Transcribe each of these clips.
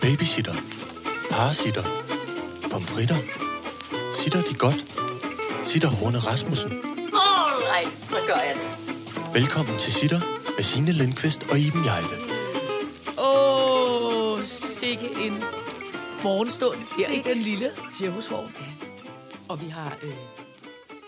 Babysitter. Parasitter. Pomfritter. Sitter de godt? Sitter Horne Rasmussen. Alright, så gør jeg det. Velkommen til Sitter med Signe Lindqvist og Iben Jejle. Åh, oh, sikke en morgenstund her sikke. i den lille cirkusvogn. Ja. Og vi har øh,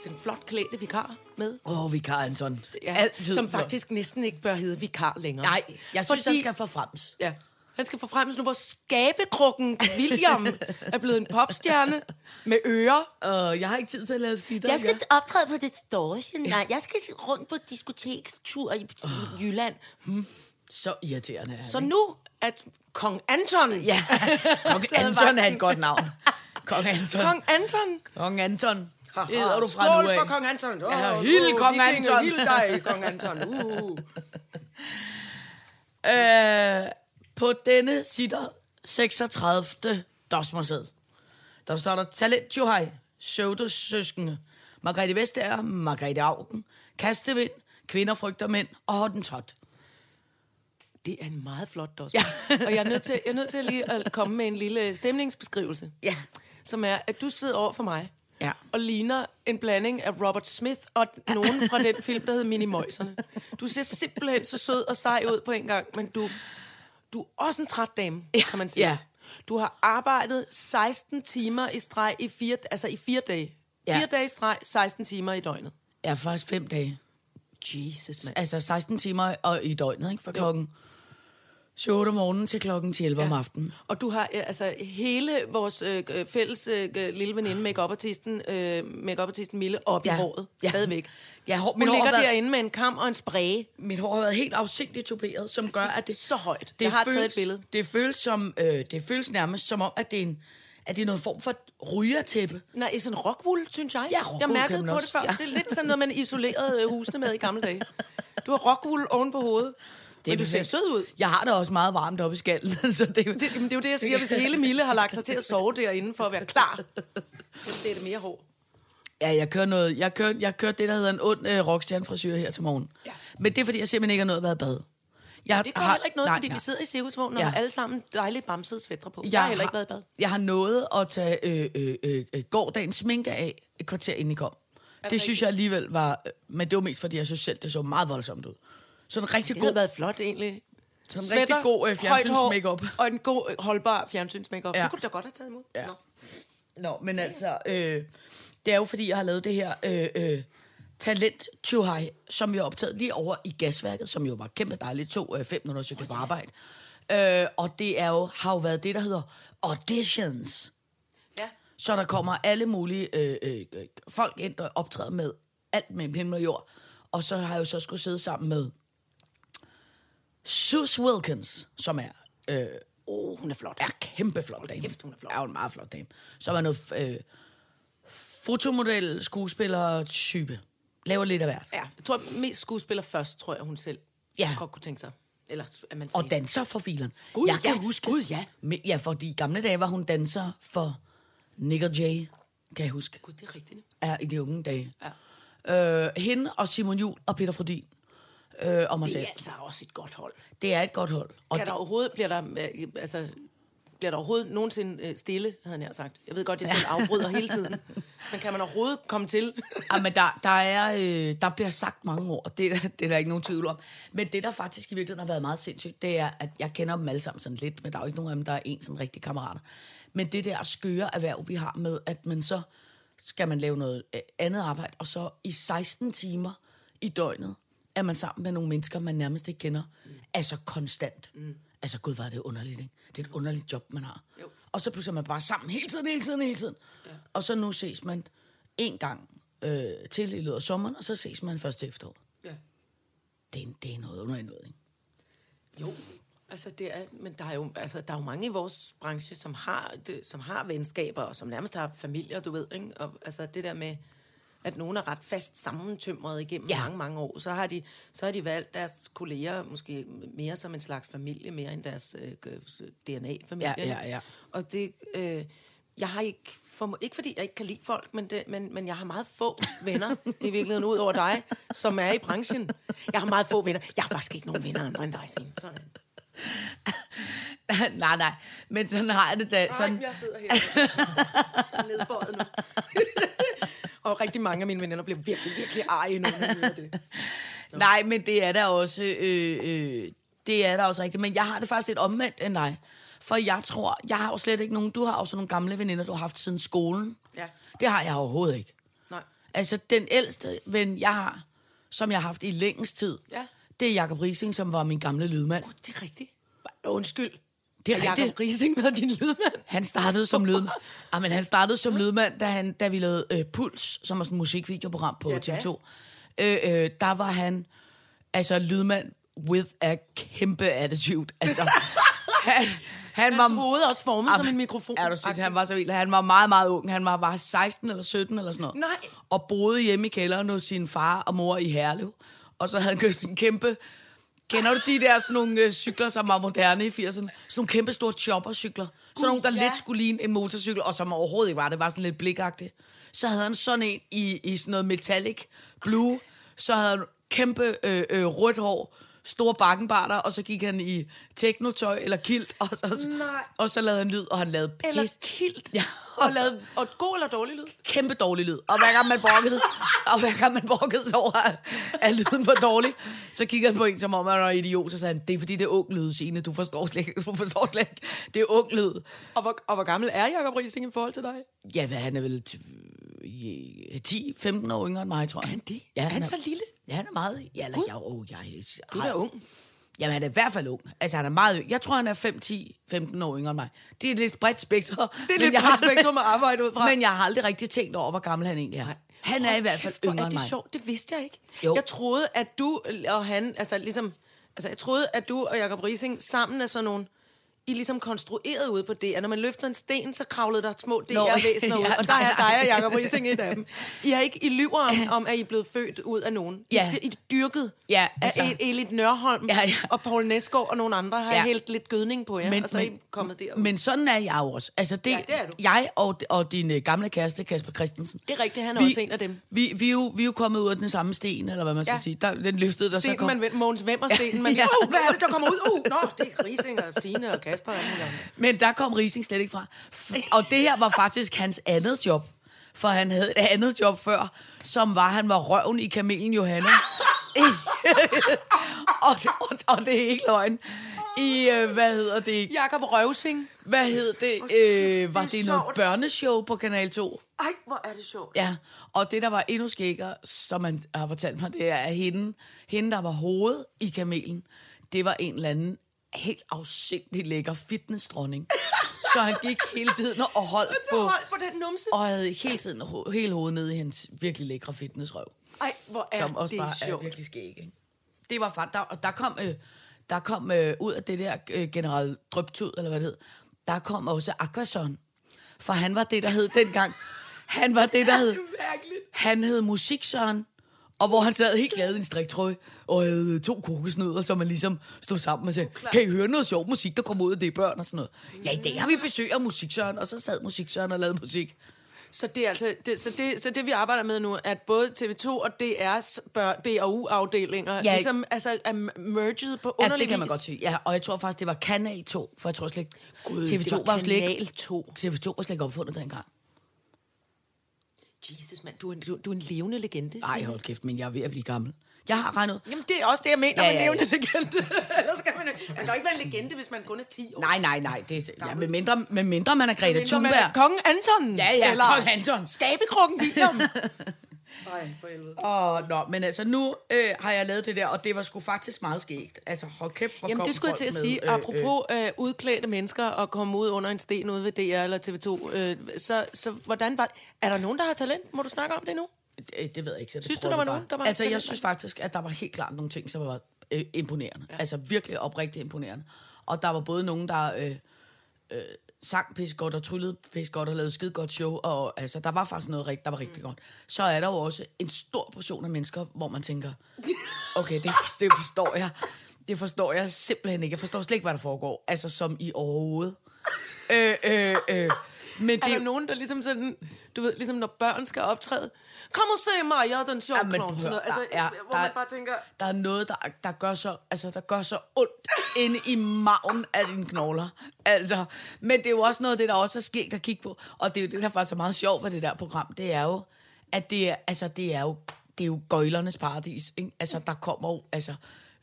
den flot klædte vikar med. Åh, oh, vikar Anton. Ja, som faktisk næsten ikke bør hedde vikar længere. Nej, jeg synes, Fordi- han skal forfrems. Ja. Han skal forfremmes nu, hvor skabekrukken William er blevet en popstjerne med ører. Uh, jeg har ikke tid til at lade sige det. Jeg skal optræde på distortion. Nej, jeg skal rundt på diskotekstur i i Jylland. Så irriterende er Ah. Så nu at kong Anton... Ja. Kong Anton er et godt navn. Kong Anton. Kong Anton. Kong Anton. Det hedder du fra nu Skål af. for kong Anton. Oh, Ja, hild kong Anton. Hild dig, kong Anton. Uh. Øh, på denne sitter 36. dosmersæd. Der står der Talent Johai, Søvdesøskende, Margrethe Vestager, Margrethe Augen, Kastevind, Kvinder frygter mænd og Hottentot. Det er en meget flot dosmer. Ja. og jeg er, nødt til, jeg er nødt til lige at komme med en lille stemningsbeskrivelse. Ja. Som er, at du sidder over for mig. Ja. Og ligner en blanding af Robert Smith og nogen fra den film, der hedder Minimøjserne. Du ser simpelthen så sød og sej ud på en gang, men du, du er også en træt dame, ja. kan man sige. ja. Du har arbejdet 16 timer i streg i fire, altså i fire dage. Ja. Fire dage i streg, 16 timer i døgnet. Ja, faktisk fem dage. Jesus, mand. Altså 16 timer og i døgnet, ikke? Fra klokken 7 om morgenen til klokken 10 11 om aftenen. Og du har øh, altså hele vores øh, øh, fælles øh, øh, lille veninde, make-up-artisten, øh, make-up-artisten Mille, op ja. i Ja. håret. Ja. Stadigvæk. Ja, hår, Hun mit, hår ligger har været, derinde med en kam og en spray. mit hår har været helt afsindigt tuperet, som gør, at Det er det så højt. Det jeg har taget et billede. Det føles, som, øh, det føles nærmest som om, at det er, en, at det er noget form for rygertæppe. Nej, det er sådan en rockwool, synes jeg. Ja, rockwool jeg kan mærkede man på også. det før. Ja. Det er lidt sådan noget, man isolerede øh, husene med i gamle dage. Du har rockwool oven på hovedet. Det men du ser perfekt. sød ud. Jeg har det også meget varmt oppe i skallen, så det, Det, jamen, det er jo det, jeg siger, hvis hele Mille har lagt sig til at sove derinde for at være klar. Så ser det mere hår. Ja, jeg kører noget. Jeg kører, jeg kører det, der hedder en ond øh, rockstjernefrisyr her til morgen. Ja. Men det er, fordi jeg simpelthen ikke har nået at være i bad. Jeg Det gør heller ikke noget, nej, fordi nej. vi sidder i cirkusvognen og Ja. har alle sammen dejlige bamsede svætter på. Jeg, jeg har heller ikke været i bad. Jeg har nået at tage øh, øh, øh, øh, gårdagens sminke af et kvarter inden I kom. Det, det synes jeg alligevel var... øh, Men det var mest, fordi jeg synes selv, det så meget voldsomt ud. Så en rigtig Det god... havde været flot, egentlig. Sådan en rigtig god, øh, fjernsyns-makeup. Og en god, øh, holdbar fjernsyns-makeup. Ja. Ja. Det kunne du da godt have taget imod. Ja. Nå. Nå, men altså, øh, det er jo fordi, jeg har lavet det her øh, øh, talent Chuhai, som jeg optaget lige over i gasværket, som jo var kæmpe dejligt, to øh, fem minutter cykel på arbejde. Øh, og det er jo, har jo været det, der hedder auditions. Ja. Så der kommer alle mulige øh, øh, øh, folk ind og optræder med alt mellem himmel og jord. Og så har jeg jo så skulle sidde sammen med Sus Wilkins, som er øh, Oh, hun er flot. er kæmpe flot dame. kæft, hun er flot. Er jo en meget flot dame. Så var noget øh, fotomodel, skuespiller, type. Laver lidt af hvert. Ja. Jeg tror, mest skuespiller først, tror jeg, hun selv Ja. godt kunne tænke sig. Eller at man Og siger- danser for filen. Gud, jeg kan ja. huske. Gud, ja. Me- Ja, fordi i gamle dage var hun danser for Nick og Jay, kan jeg huske. Gud, det er rigtigt. Er i de unge dage. Ja. Øh, hende og Simon Jul og Peter Frodin. Øh, og mig Det selv. er altså også et godt hold. Det er et godt hold. Og Og kan der overhovedet, bliver der, øh, altså, bliver der overhovedet nogensinde øh, stille, havde jeg nær sagt. Jeg ved godt, jeg selv afbryder hele tiden. Men kan man overhovedet komme til? Ja, men der, der, er, øh, der bliver sagt mange ord, det, er der- det er der ikke nogen tvivl om. Men det, der faktisk i virkeligheden har været meget sindssygt, det er, at jeg kender dem alle sammen sådan lidt, men der er jo ikke nogen af dem, der er en sådan rigtig kammerater. Men det der skøre erhverv, vi har med, at man så skal man lave noget øh, andet arbejde, og så i 16 timer i døgnet er man sammen med nogle mennesker, man nærmest ikke kender. Mm. Altså konstant. Mm. Altså gud, var det underligt, ikke? Det er et underligt job, man har. Jo. Og så pludselig er man bare sammen hele tiden, hele tiden, hele tiden. Ja. Og så nu ses man en gang øh, til i løbet af sommeren, og så ses man først til efteråret. Ja. Det er, det er noget underligt noget, ikke? Jo, altså det er, men der er jo, altså der er jo mange i vores branche, som har, det, som har venskaber, og som nærmest har familier, du ved, ikke? Og, altså det der med, at nogen er ret fast sammentømret igennem ja. Ja. mange, mange år, så har, de, så har de valgt deres kolleger måske mere som en slags familie, mere end deres øh, DNA-familie. Ja, ja, ja. Og det, øh, jeg har ikke, for, ikke fordi jeg ikke kan lide folk, men, det, men, men jeg har meget få venner i virkeligheden, ud over dig, som er i branchen. Jeg har meget få venner. Jeg har faktisk ikke nogen venner andre end dig, Signe. Sådan. nej, nej. Men sådan har jeg det da. Sådan, Sådan. Jeg sidder her så nedbøjet nu. og rigtig mange af mine veninder bliver virkelig, virkelig arge, når de hører det. Nej, men det er der også, øh, øh, det er der også rigtigt. Men jeg har det faktisk lidt omvendt end dig. For jeg tror, jeg har jo slet ikke nogen, du har også nogle gamle veninder, du har haft siden skolen. Ja. Det har jeg overhovedet ikke. Nej. Altså, den ældste ven, jeg har, som jeg har haft i længst tid, Ja. det er Jacob Rising, som var min gamle lydmand. Det er rigtigt. Undskyld. Det er Har Jacob rigtigt. Rising været din lydmand. Han startede som lydmand. Ah, men han startede som lydmand, da, han, da vi lavede øh, Puls, som var sådan et musikvideoprogram på Ja, ja, da. TV2. Øh, øh, der var han altså lydmand with a kæmpe attitude. Altså, han, han Hans var... hoved er også formet Ah, som en mikrofon. Er du sindssyg? Han var så vild. Han var meget, meget ung. Han var, var 16 eller 17 eller sådan noget. Nej. Og boede hjemme i kælderen hos sin far og mor i Herlev. Og så havde han købt en kæmpe... Kender du de der sådan nogle øh, cykler, som var moderne i 80'erne? Sådan nogle kæmpe store choppercykler. Sådan nogle, der ja. lidt skulle ligne en motorcykel, og som overhovedet ikke var. Det var sådan lidt blikagtigt. Så havde han sådan en i, i sådan noget metallic blue. Så havde han kæmpe øh, øh, rødt hår, store bakkenbarter, og så gik han i teknotøj eller kilt, og så, Nej. og så lavede han lyd, og han lavede pis. Eller kilt. Ja, Og, og så- lavede, og god eller dårlig lyd. kæmpe dårlig lyd. Og hver gang man brokkede, og hver gang man brokkede sig over, at- at lyden var dårlig, så kiggede han på en, som om han var en idiot, så sagde han, det er fordi, det er ung lyd, Signe, du forstår slet ikke, du forstår slet ikke, det er ung lyd. Og hvor, og hvor gammel er Jacob Rising i forhold til dig? Ja, hvad, han er vel 10-15 år yngre end mig, tror jeg. Er han det? Ja, Er han så lille? Ja, han er meget... Ja, eller, jeg, oh, jeg, jeg, Du er da ung. Jamen, han er i hvert fald ung. Altså, han er meget yng- Jeg tror, han er 5, 10, 15 år yngre end mig. Det er et lidt bredt spektrum. Det er men lidt jeg har bredt aldrig- spektrum at arbejde ud fra. Men jeg har aldrig rigtig tænkt over, hvor gammel han egentlig er. Han er i hvert fald Kæft, hvor yngre er end det mig. sjovt, det vidste jeg ikke. Jo. Jeg troede, at du og han, altså ligesom, altså jeg troede, at du og Jacob Rising sammen er sådan nogle, I er ligesom konstrueret ude på det, at når man løfter en sten, så kravlede der små DR-væsener ud, ja, og der er nej, dig nej. og Jacob Rising et af dem. I har ikke, I lyver om, om at I er blevet født ud af nogen. I, Ja. I er dyrket Ja, altså. altså. af E- Elit Nørholm Ja, ja. og Paul Næsgaard og nogle andre har Ja. ja. hældt lidt gødning på jer, men, og så er I kommet derud. Men sådan er jeg jo også. Altså, det, Ja, det er du. Jeg og, og din øh, gamle kæreste, Kasper Christensen. Det er rigtigt, han er også en af dem. Vi, vi, er jo, vi er jo kommet ud af den samme sten, eller hvad man skal Ja. sige. Der, den løftede, der så Stenen, kom... man vendte, Mogens Vemmer stenen, man, Ja. uh, hvad er det, der kommer ud? Uh, nå, det er Rising og Signe og Kasper. Og alle mulige andre. Men der kom Rising slet ikke fra. F- Og det her var faktisk hans andet job. For han havde et andet job før, som var, han var røven i kamelen Johanna. og, og, og det er ikke løgn. I, øh, hvad hedder det? Jakob Røvsing. Hvad hed det? Øh, var det er det noget sjovt. børneshow på Kanal 2? Ej, hvor er det sjovt. Ja, og det, der var endnu skækker, som man har fortalt mig, det er, at hende, hende der var hoved i kamelen, det var en eller anden helt afsindig lækker fitnessdronning. Så han gik hele tiden og holdt Så på, hold på den numse. og havde hele tiden ho- hele hovedet nede i hendes virkelig lækre fitnessrøv, Ej, hvor er som også det bare er sjovt. virkelig skæg. Ikke? Det var faktisk, der, og der kom, øh, der kom øh, ud af det der øh, general drøbtud, eller hvad det hed, der kom også Aquason, for han var det, der hed dengang, han var det, der hed han hed Musiksøren, og hvor han sad helt glad i en striktrøje, og havde to kokosnødder, som man ligesom stod sammen og sagde, kan I høre noget sjov musik, der kommer ud af det børn og sådan noget. Ja, i dag har vi besøg af Musiksøren, og så sad Musiksøren og lavede musik. Så det, er altså, det, så, det, så det, vi arbejder med nu, er, at både TV2 og DR's bør- BAU-afdelinger ja, Ja. ligesom altså, er m- merged på Ja, underlig det kan man vis. godt sige. Ja, og jeg tror faktisk, det var Kanal 2, for jeg tror slet ikke, Gud, TV2 det var var, jo slet Kanal ikke, 2. TV2 var slet ikke opfundet dengang. Jesus, mand, du er, en- du, du er en levende legende. Nej, Signe. hold kæft, men jeg er ved at blive gammel. Jeg har regnet ud. Jamen, det er også det, jeg mener Ja, med ja, ja. levende legende. Ellers kan man, jo- man kan jo ikke være en legende, hvis man kun er 10 år. Nej, nej, nej. Det, er- ja, med, mindre, med mindre man er Greta Mindre man er Thunberg. Kongen Anton. Ja, ja, eller Kong Anton. Skabekrukken William. Og, nå, men altså nu øh, har jeg lavet det der, og det var sgu faktisk meget skægt. Altså hold kæft, hvor Jamen, kom det skulle jeg folk til at med, sige. Øh, apropos øh, udklædte mennesker og komme ud under en sten ude ved DR eller TV2, øh, så, så hvordan var Er der nogen, der har talent? Må du snakke om det nu? Øh, øh, det ved jeg ikke. Så det Synes du, prøver der vi var bare. nogen, der var Altså, jeg talenter? synes faktisk, at der var helt klart nogle ting, som var øh, imponerende. Ja. Altså virkelig oprigtigt imponerende. Og der var både nogen, der øh, øh, sang pis godt og tryllede pis godt og lavede skide godt show. Og altså, der var faktisk noget, rigt- der var rigtig mm. godt. Så er der jo også en stor portion af mennesker, hvor man tænker, okay, det, det forstår jeg. Det forstår jeg simpelthen ikke. Jeg forstår slet ikke, hvad der foregår. Altså, som i overhovedet. øh, øh, øh. Men Men det... det- Er der nogen, der ligesom sådan, du ved, ligesom når børn skal optræde, kom og se mig, jeg er den sjove Ja, men ja, klovn. prøv Sådan noget. at- Altså, der er- hvor der man er- bare tænker, der er noget, der, der, gør så, altså, der gør så ondt inde i maven af dine knogler. Altså, men det er jo også noget af det, der også er sket at kigge på. Og det er jo det, der faktisk er meget sjovt ved det der program. Det er jo, at det er, altså, det er jo, det er jo gøjlernes paradis. Ikke? Altså, der kommer jo altså,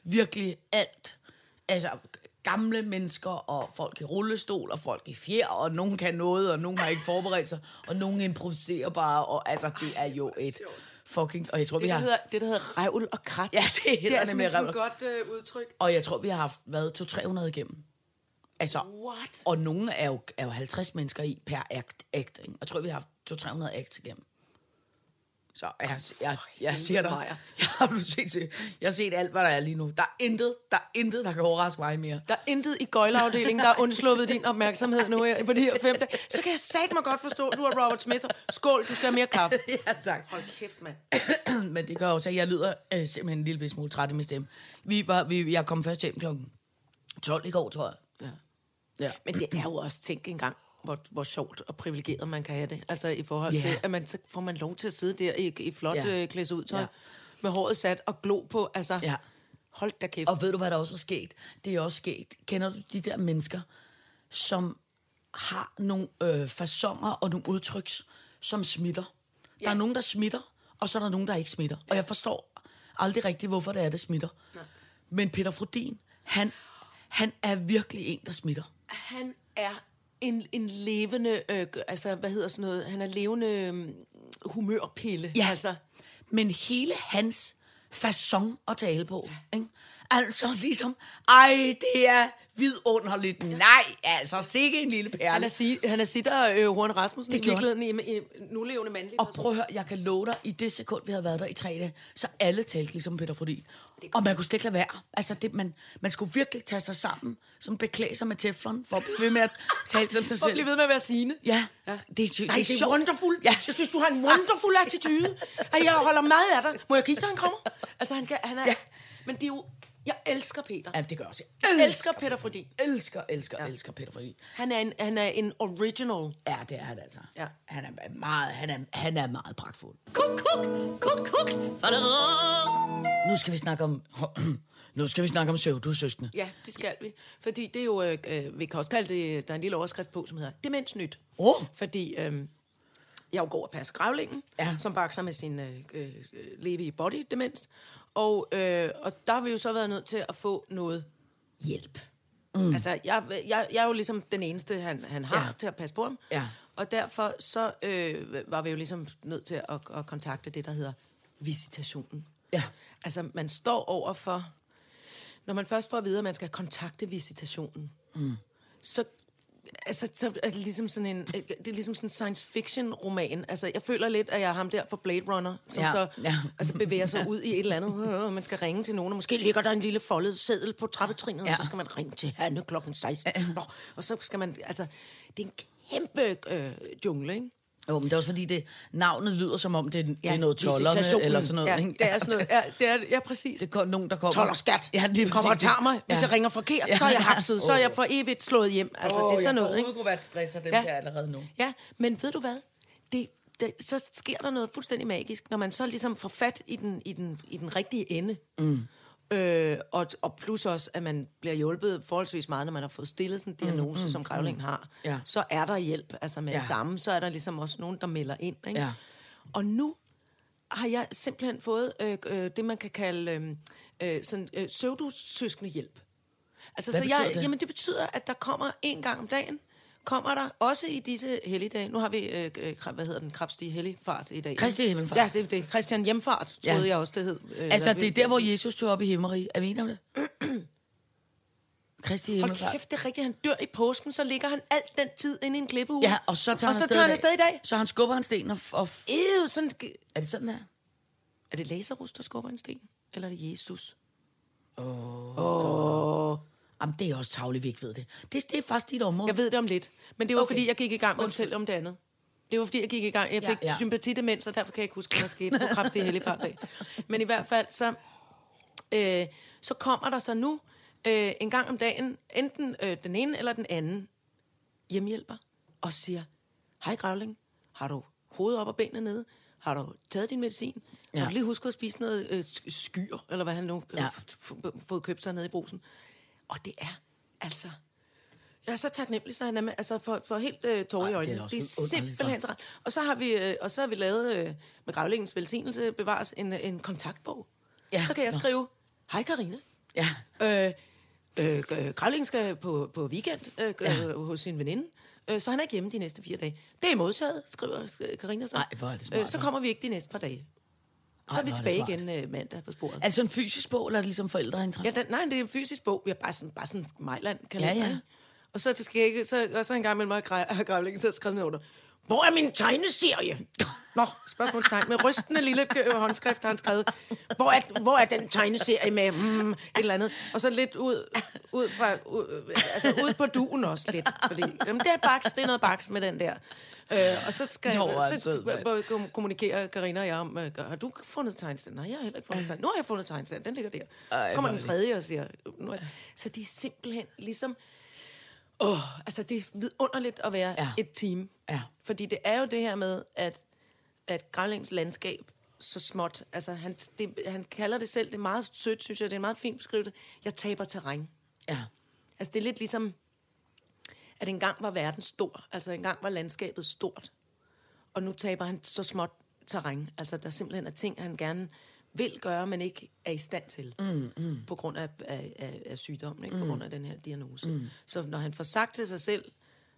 virkelig alt. Altså, gamle mennesker, og folk i rullestol, og folk i fjer, og nogen kan noget, og nogen har ikke forberedt sig, og nogen improviserer bare, og altså, det er jo et fucking... Og jeg tror, vi det, der har... hedder, det, der hedder revl og krat. Ja, det hedder det er nemlig simpelthen revl et godt øh, udtryk. Og jeg tror, vi har haft været 200-300 igennem. Altså, What? og nogle er jo, er jo 50 mennesker i per act, act ikke? Jeg tror, vi har haft 200-300 acts igennem. Så jeg, jeg, jeg, jeg siger dig, Maja. jeg har, du set, jeg har set alt, hvad der er lige nu. Der er intet, der er intet, der kan overraske mig mere. Der er intet i gøjleafdelingen, der er undsluppet din opmærksomhed nu her på de her fem dage. Så kan jeg satme godt forstå, at du er Robert Smith. Skål, du skal have mere kaffe. ja, tak. Hold kæft, mand. Men det gør også, at jeg lyder øh, simpelthen en lille smule træt i min stemme. Vi var, vi, jeg kom først hjem klokken 12 i går, tror jeg. Ja. ja. Men det er jo også, tænk engang, hvor, hvor sjovt og privilegeret man kan have det. Altså i forhold Ja. yeah. til, at man, så får man lov til at sidde der i, i flot Ja. yeah. øh, klæs ud tøj, Ja. yeah. med håret sat og glo på. Altså, Ja. yeah. hold da kæft. Og ved du, hvad der også er sket? Det er også sket. Kender du de der mennesker, som har nogle øh, fasonger og nogle udtryk, som smitter? Ja. Der er nogen, der smitter, og så er der nogen, der ikke smitter. Ja. Og jeg forstår aldrig rigtigt, hvorfor det er, det smitter. Nej. Men Peter Frodin, han, han er virkelig en, der smitter. han er en, en levende, øh, g- altså hvad hedder sådan noget, han er levende øh, humørpille. Ja. Altså, Men hele hans façon at tale på, ikke? Altså ligesom, ej, det er vidunderligt. Nej, altså, sikke en lille perle. han er, si, han er sitter øh, Juan Rasmussen det i gjorde han. virkeligheden i, i nu levende mandlig Og prøv at høre, jeg kan love dig, i det sekund, vi havde været der i tre dage, så alle talte ligesom Peter Frodin. Og man kunne slet ikke lade være. Altså, det, man, man skulle virkelig tage sig sammen, som beklæde sig med teflon, for at blive ved med at tale som sig For at blive selv. ved med at være sigende. Ja, ja, det er, sy- Nej, det er sjovt. wonderful. Ja. Ja. Jeg synes, du har en wonderful attitude. Og jeg holder meget af dig. Må jeg kigge, når han kommer? Altså, han, kan, han er... Ja. Ja. Men det er jo... Jeg elsker Peter. Ja, det gør også. Jeg elsker Peter Frodin. elsker, elsker, ja. elsker Peter Frodin. Han er en, han er en original. Ja, det er han altså. Ja. Han er meget, han er, han er meget pragtfuld. Kuk, kuk, kuk, kuk. Nu skal vi snakke om... nu skal vi snakke om søvdusøskende. Ja, det skal vi. Fordi det er jo... øh, Øh, vi kan også kalde det... Der er en lille overskrift på, som hedder Demensnyt. Åh. Fordi... Øh, jeg jo går og passer gravlingen, Ja. ja. som bakser med sin øh, øh, leve i body demens. Og, øh, og der har vi jo så været nødt til at få noget hjælp. Mm. Altså, jeg, jeg, jeg er jo ligesom den eneste, han, han har Ja. ja. til at passe på ham. Ja. Og derfor så øh, var vi jo ligesom nødt til at, at kontakte det, der hedder visitationen. Ja. Altså, man står over for... Når man først får at vide, at man skal kontakte visitationen, mm. så, altså, så er det ligesom sådan en, det er ligesom sådan en science fiction roman. Altså, jeg føler lidt, at jeg er ham der fra Blade Runner, som Ja, ja. så ja. ja. Altså, bevæger sig ud i et eller andet. Øh, Man skal ringe til nogen, og måske ligger der en lille foldet seddel på trappetrinet, ja. Ja. og så skal man ringe til Hanne klokken 16. Nå, og så skal man, altså, det er en kæmpe øh, jungle, ikke? Jo, men det er også fordi, det, navnet lyder som om, det, er- det er noget tollerne, visitationen. eller sådan noget. Ja, ikke? Altså, det er sådan noget. Ja, det er, ja præcis. Det er nogen, der kommer. Told og skat. Ja, lige kommer og præcis. tager mig. Hvis Ja. jeg ringer forkert, Ja. så er jeg hapset. Så er jeg for evigt slået hjem. Altså, det er sådan noget, ikke? kunne være stress af dem der allerede nu. Ja, men ved du hvad? Det, det, så sker der noget fuldstændig magisk, når man så ligesom får fat i den, i den, i den rigtige ende. Mm. Øh, og, og plus også, at man bliver hjulpet forholdsvis meget, når man har fået stillet sådan en diagnose, mm, mm, som grævlingen mm. har. Ja. Så er der hjælp, altså med ja. Ja. det samme. Så er der ligesom også nogen, der melder ind. Ikke? Ja. Og nu har jeg simpelthen fået øh, øh, det, man kan kalde øh, øh, sådan, øh, søvdusøskende hjælp. Altså, Hvad så betyder jeg, det? Jamen, det betyder, at der kommer en gang om dagen, kommer der også i disse helligdage. Nu har vi, øh, øh, kra- hvad hedder den, Krabstige Helligfart i dag. Kristi Himmelfart. Ja, det er det. Christian Hjemfart, troede Ja. ja. jeg også, det hed. Øh, Altså, eller det er vi- der, hvor Jesus tog op i himmerig. Er vi enige om det? Kristi Hold Himmelfart. kæft, det er rigtigt. Han dør i påsken, så ligger han alt den tid inde i en klippeuge. Ja, og så tager, og så tager han afsted i dag. Så han skubber en sten og... f- og f- Ew, sådan, er det sådan der? er det Lazarus, der skubber en sten? Eller er det Jesus? Jamen, det er også tavligt, vi ikke ved det. det. Det er faktisk dit område. Jeg ved det om lidt. Men det var, Okay. okay. fordi jeg gik i gang med at fortælle om det andet. Det var, fordi jeg gik i gang. Jeg Ja, fik ja, ja. ja. sympatidemens, og derfor kan jeg ikke huske, hvad der skete på kraftig helligfartdag. Men i hvert fald, så, øh, så kommer der så nu øh, en gang om dagen, enten øh, den ene eller den anden hjemmehjælper, og siger, hej grævling, har du hovedet op og benene nede? Har du taget din medicin? Ja. Har Ja. du lige husket at spise noget øh, sk- skyr, eller hvad han nu øh, ja. Ja. fået købt sig nede i brusen? Og det er altså... Jeg er så taknemmelig, så han er med, altså for, for helt øh, tårer i Ej, det er øjnene. også Det er underligt, hva'? simpelthen så rart. Og så har vi, øh, og så har vi lavet, øh, med gravlægens velsignelse bevares, en, øh, en kontaktbog. Ja. Ja. Så kan jeg Nå. skrive, hej Karina. Ja. Øh, øh, øh, Gravlingen skal på, på weekend øh, ja. øh, hos sin veninde, øh, så han er ikke hjemme de næste fire dage. Det er modtaget, skriver øh, Karina så. Øh, Ej, hvor er det smart, så hva'? kommer vi ikke de næste par dage. Så Ej, er hvor vi er det tilbage smart. igen øh, mandag på sporet. Altså en fysisk bog, eller er det ligesom forældreindtræk? Ja, den, nej, det er en fysisk bog. Vi har bare sådan, bare sådan Mejland kan Ja, ja. Og så til skægge, så, og så en gang imellem har Gra- har Gravlingen selv skrevet noget under. Hvor er min tegneserie? Nå, spørgsmålstegn. Med rystende lille øh, håndskrift har han skrevet. Hvor er, hvor er den tegneserie med mm, et eller andet? Og så lidt ud, ud, fra, ud, altså ud på duen også lidt. Fordi, jamen, det er baks, det er noget baks med den der. Øh, og så skal Nå, hvor er jeg, han så sød, mand. både kom- kommunikerer Karina og jeg om, øh, har du fundet tegnstand? Nej, jeg har heller ikke fundet tegnstand. Nu har jeg fundet tegnstand, den ligger der. Ej, Kommer hvor den er det- tredje og siger, nu er Så det er simpelthen ligesom, åh, altså det er vidunderligt at være ja. Ja. et team. Ja. Fordi det er jo det her med, at, at Gravlings landskab så småt, altså han, det, han kalder det selv, det er meget sødt, synes jeg, det er en meget fin beskrivelse, jeg taber terræn. ja. Altså, det er lidt ligesom, at engang var verden stor. Altså, engang var landskabet stort. Og nu taber han så småt terræn. Altså, der simpelthen er ting, han gerne vil gøre, men ikke er i stand til. Mm, mm. På grund af, af, af, af sygdommen, ikke? på grund af den her diagnose. Mm. Så når han får sagt til sig selv,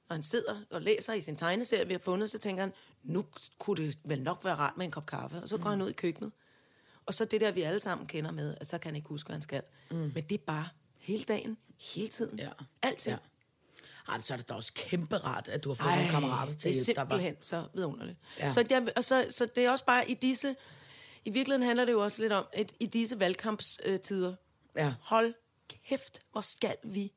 når han sidder og læser i sin tegneserie, vi har fundet, så tænker han, nu kunne det vel nok være rart med en kop kaffe. Og så går mm. han ud i køkkenet. Og så det der, vi alle sammen kender med, at så kan han ikke huske, hvad han skal. Mm. Men det er bare hele dagen, hele tiden. Ja. Altid. Ja. Ej, men så er det da også kæmpe rart, at du har fået Ej, nogle kammerater til at det er hjælpe dig. hva'? simpelthen så vidunderligt. Ja. Ja. Så, jeg, og så, så det er også bare i disse... I virkeligheden handler det jo også lidt om, at i disse valgkampstider, Ja. hold kæft, hvor skal vi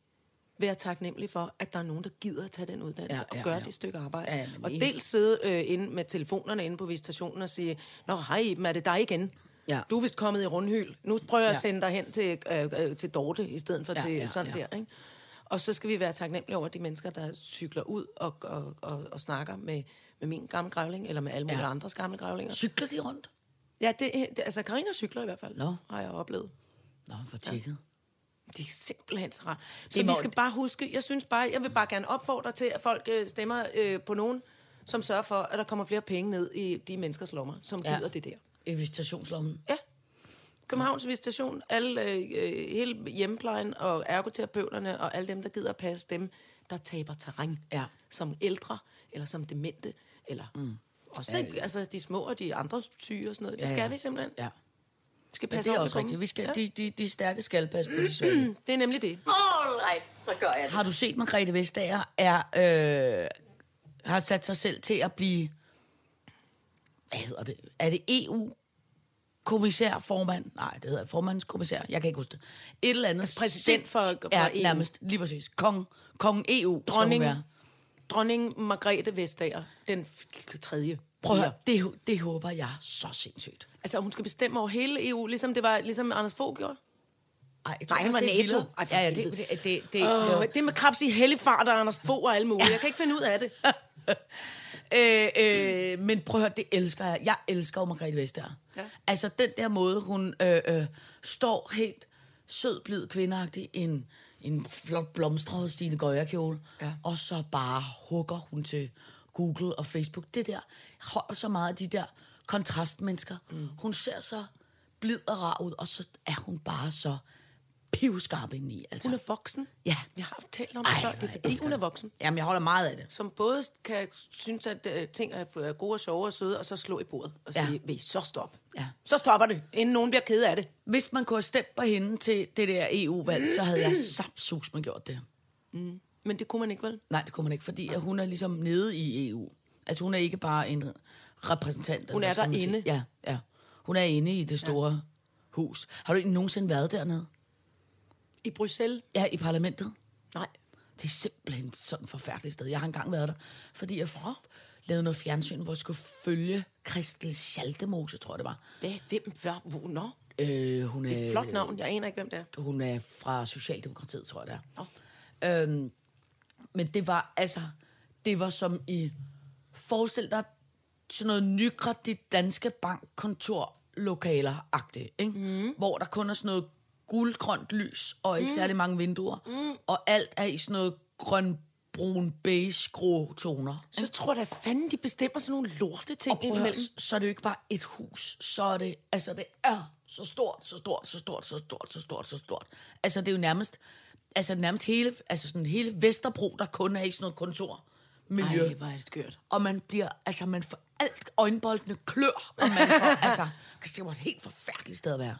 være taknemmelige for, at der er nogen, der gider at tage den uddannelse ja, ja, og gøre ja. det stykke arbejde. Ja, Ja, ja, men og enig. dels sidde øh, inde med telefonerne inde på visitationen og sige, Nå, hej Iben, er det dig igen? Ja. Du er vist kommet i rundhyl. Nu prøver jeg at Ja. sende dig hen til, øh, øh, til Dorte, i stedet for Ja, til ja, sådan ja. der. Ikke? Og så skal vi være taknemmelige over de mennesker, der cykler ud og, og, og, og snakker med, med min gamle grævling, eller med alle mulige ja. Ja. andres gamle grævlinger. Cykler de rundt? Ja, det, det, altså Karina cykler i hvert fald, Nå. har jeg oplevet. Nå, for tjekket. Det er simpelthen så rart. Så Det vi må- skal bare huske, jeg synes bare, jeg vil bare gerne opfordre til, at folk øh, stemmer øh, på nogen, som sørger for, at der kommer flere penge ned i de menneskers lommer, som Ja. gider det der. Ja. I visitationslommen. Ja. Københavns Visitation, alle, øh, øh, hele hjemmeplejen og ergoterapeuterne og alle dem, der gider at passe dem, der taber terræn. Ja. Som ældre, eller som demente, eller mm. også ja, ja. Altså, de små og de andre syge og sådan noget. Det Ja, skal ja. vi simpelthen. Ja. Vi skal Men passe det er ordentligt også på dem. rigtigt. Vi skal, ja. de, de, de stærke skal passe på de svage. Det er nemlig det. Alright, så gør jeg det. Har du set, Margrethe Vestager er, øh, har sat sig selv til at blive... Hvad hedder det? Er det EU? Kommissær, formand, nej, det hedder det, formandskommissær, jeg kan ikke huske det. Et eller andet. præsident for- sindssygt- for ja, EU. nærmest, lige præcis. Kong, kong EU, skal hun Dronning, være. dronning Margrethe Vestager, den f- k- tredje. Prøv at høre, det, det håber jeg så sindssygt. Altså, hun skal bestemme over hele EU, ligesom det var, ligesom Anders Fogh gjorde. Ej, jeg tror Nej, han også, var det er NATO. vildere. Ej, for Ja, ja, det, helvede. det, det, det, det, Åh, det med krebs i hellefart og Anders Fogh og alle mulige. Jeg kan ikke finde ud af det. Øh, øh, men prøv at høre, det elsker jeg. Jeg elsker jo Margrethe Vestager. Ja. Ja. Altså den der måde, hun øh, øh, står helt sød, blid, kvindeagtig i en, en flot blomstret Stine Gøjer kjole, ja. og så bare hugger hun til Google og Facebook. Det der holder så meget af de der kontrastmennesker. Mm. Hun ser så blid og rar ud, og så er hun bare så pivskarp indeni. Altså. Hun er voksen. Ja. Vi har talt om det Ej, før. hvor Det er jeg fordi, elsker hun er det. voksen. Jamen, jeg holder meget af det. Som både kan synes, at øh, ting er er gode og sjove og søde, og så slå i bordet og Ja. sige, ja. vil I så stoppe? Ja. Så stopper det, inden nogen bliver ked af det. Hvis man kunne have stemt på hende til det der EU-valg, så havde jeg sapsus med gjort det. Men det kunne man ikke, vel? Nej, det kunne man ikke, fordi at hun er ligesom nede i EU. Altså hun er ikke bare en repræsentant. Hun eller er hvad skal man sige. derinde. Ja, ja. Hun er inde i det store ja. hus. Har du ikke nogensinde været dernede? I Bruxelles? Ja, i parlamentet. Nej. Det er simpelthen sådan et forfærdeligt sted. Jeg har engang været der, fordi jeg for, lavede noget fjernsyn, hvor jeg skulle følge Christel Schaltemose, tror jeg det var. Hvad? Hvem? Hvad? Hvor? Nå. Øh, hun er, Et flot navn. Jeg aner ikke, hvem det er. hun er fra Socialdemokratiet, tror jeg det er. Øhm, men det var altså, det var som i forestil dig sådan noget nykredit danske bankkontor lokaler agtigt ikke? Mm. Hvor der kun er sådan noget guldgrønt lys og ikke mm. særlig mange vinduer. Mm. Og alt er i sådan noget grøn brun beige grå toner. Så tror jeg da fanden, de bestemmer sådan nogle lorte ting Og prøv at høre, indimellem. så er det jo ikke bare et hus, så er det, altså det er så stort, så stort, så stort, så stort, så stort, så stort. Altså det er jo nærmest, altså nærmest hele, altså sådan hele Vesterbro, der kun er i sådan noget kontor. Miljø. Ej, hvor er det skørt. Og man bliver, altså man får alt øjenboldene klør, og man får, altså, det var et helt forfærdeligt sted at være.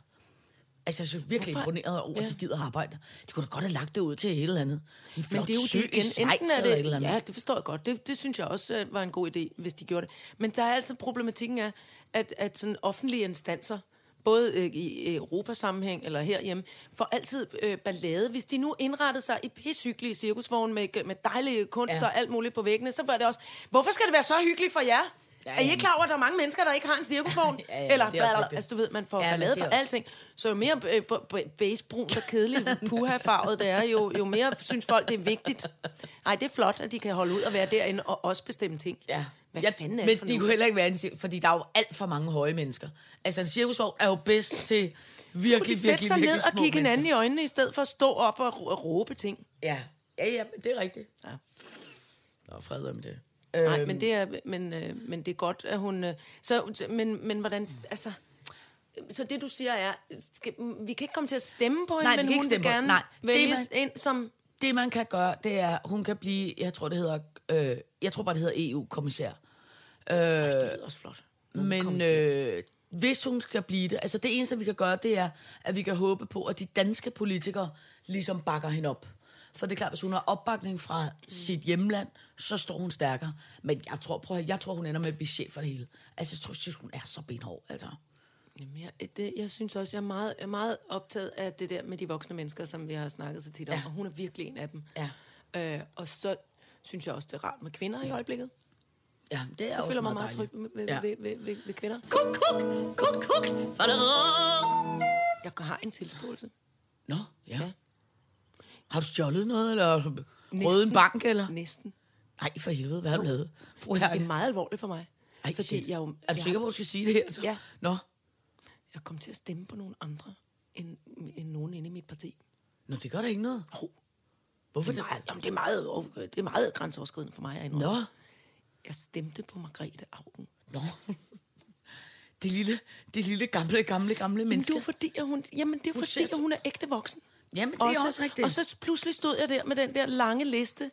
Altså, jeg er så virkelig Hvorfor? Hvorfor? imponeret over, at Ja. de gider arbejde. De kunne da godt have lagt det ud til et eller andet. En flot Men det er jo sø det i igen. Enten Schweiz er eller et eller det, andet. ja, det forstår jeg godt. Det, det synes jeg også øh, var en god idé, hvis de gjorde det. Men der er altså problematikken af, at, at sådan offentlige instanser, både øh, i Europasammenhæng eller herhjemme, får altid øh, ballade. Hvis de nu indrettede sig i pishyggelige cirkusvogne med, med dejlige kunst Ja. ja. og alt muligt på væggene, så var det også, hvorfor skal det være så hyggeligt for jer? Ja, ja. Er I ikke klar over, at der er mange mennesker, der ikke har en cirkusvogn? Ja, ja, Eller, det er også blablabla. rigtigt. altså, du ved, man får Ja, ja, men ballade det er for også- alting. Så jo mere øh, b- b- beigebrun og kedelig puha-farvet det er, jo, jo mere synes folk, det er vigtigt. Nej, det er flot, at de kan holde ud og være derinde og også bestemme ting. Ja. Hvad ja, fanden er men det for de noget? kunne heller ikke være en cirkus, fordi der er jo alt for mange høje mennesker. Altså en cirkusvogn er jo bedst til virkelig, de sætte virkelig, sig virkelig ned og små kigge hinanden mennesker. i øjnene, i stedet for at stå op og, r- og råbe ting. Ja, ja, ja men det er rigtigt. Ja. Nå, fred være med det. Nej, men det er, men, øh, men det er godt, at hun... Øh, så, men, men hvordan... Altså, så det, du siger, er, skal, vi kan ikke komme til at stemme på hende, Nej, vi men kan ikke hun stemme på vil hende. gerne Nej, det er vælges ind som... Det, man kan gøre, det er, hun kan blive, jeg tror, det hedder, øh, jeg tror bare, det hedder EU-kommissær. Det lyder også flot. Men øh, hvis hun skal blive det, altså det eneste, vi kan gøre, det er, at vi kan håbe på, at de danske politikere ligesom bakker hende op. For det er klart, hvis hun har opbakning fra sit hjemland, så står hun stærkere. Men jeg tror, prøv at, høre, jeg tror hun ender med at blive chef for det hele. Altså, jeg tror, synes, hun er så benhård, altså. Jamen, jeg, det, jeg synes også, jeg er, meget, jeg er meget optaget af det der med de voksne mennesker, som vi har snakket så tit om, Ja. ja. og hun er virkelig en af dem. Ja. Øh, og så synes jeg også, det er rart med kvinder i øjeblikket. Ja, det er Jeg også føler mig meget dejligt. tryg ved, ved, Ja. ja. ved, ved, ved, ved kvinder. Kuk, kuk, kuk, kuk. Jeg har en tilståelse. Nå, ja. ja. Ja. Har du stjålet noget, eller har du røvet en bank, eller? Næsten. Nej, for helvede, hvad har du lavet? Fru Det er Herke. meget alvorligt for mig. Ej, fordi shit. jeg, er jo, du jeg, sikker på, at du skal sige det her? Så? Ja. Nå, jeg kom til at stemme på nogle andre, end, end nogen inde i mit parti. Nå, det gør da ikke noget. Hov. Hvorfor Det er meget, jamen, det er meget, over- det er meget grænseoverskridende for mig. at indrømme. Nå. Jeg stemte på Margrethe Augen. Nå. Det lille, det lille gamle, gamle, gamle Men det menneske. er jo fordi, at hun, jamen, det er jo Hun fordi, ser så- at hun er ægte voksen. Jamen, det er og så, også rigtigt. Og så pludselig stod jeg der med den der lange liste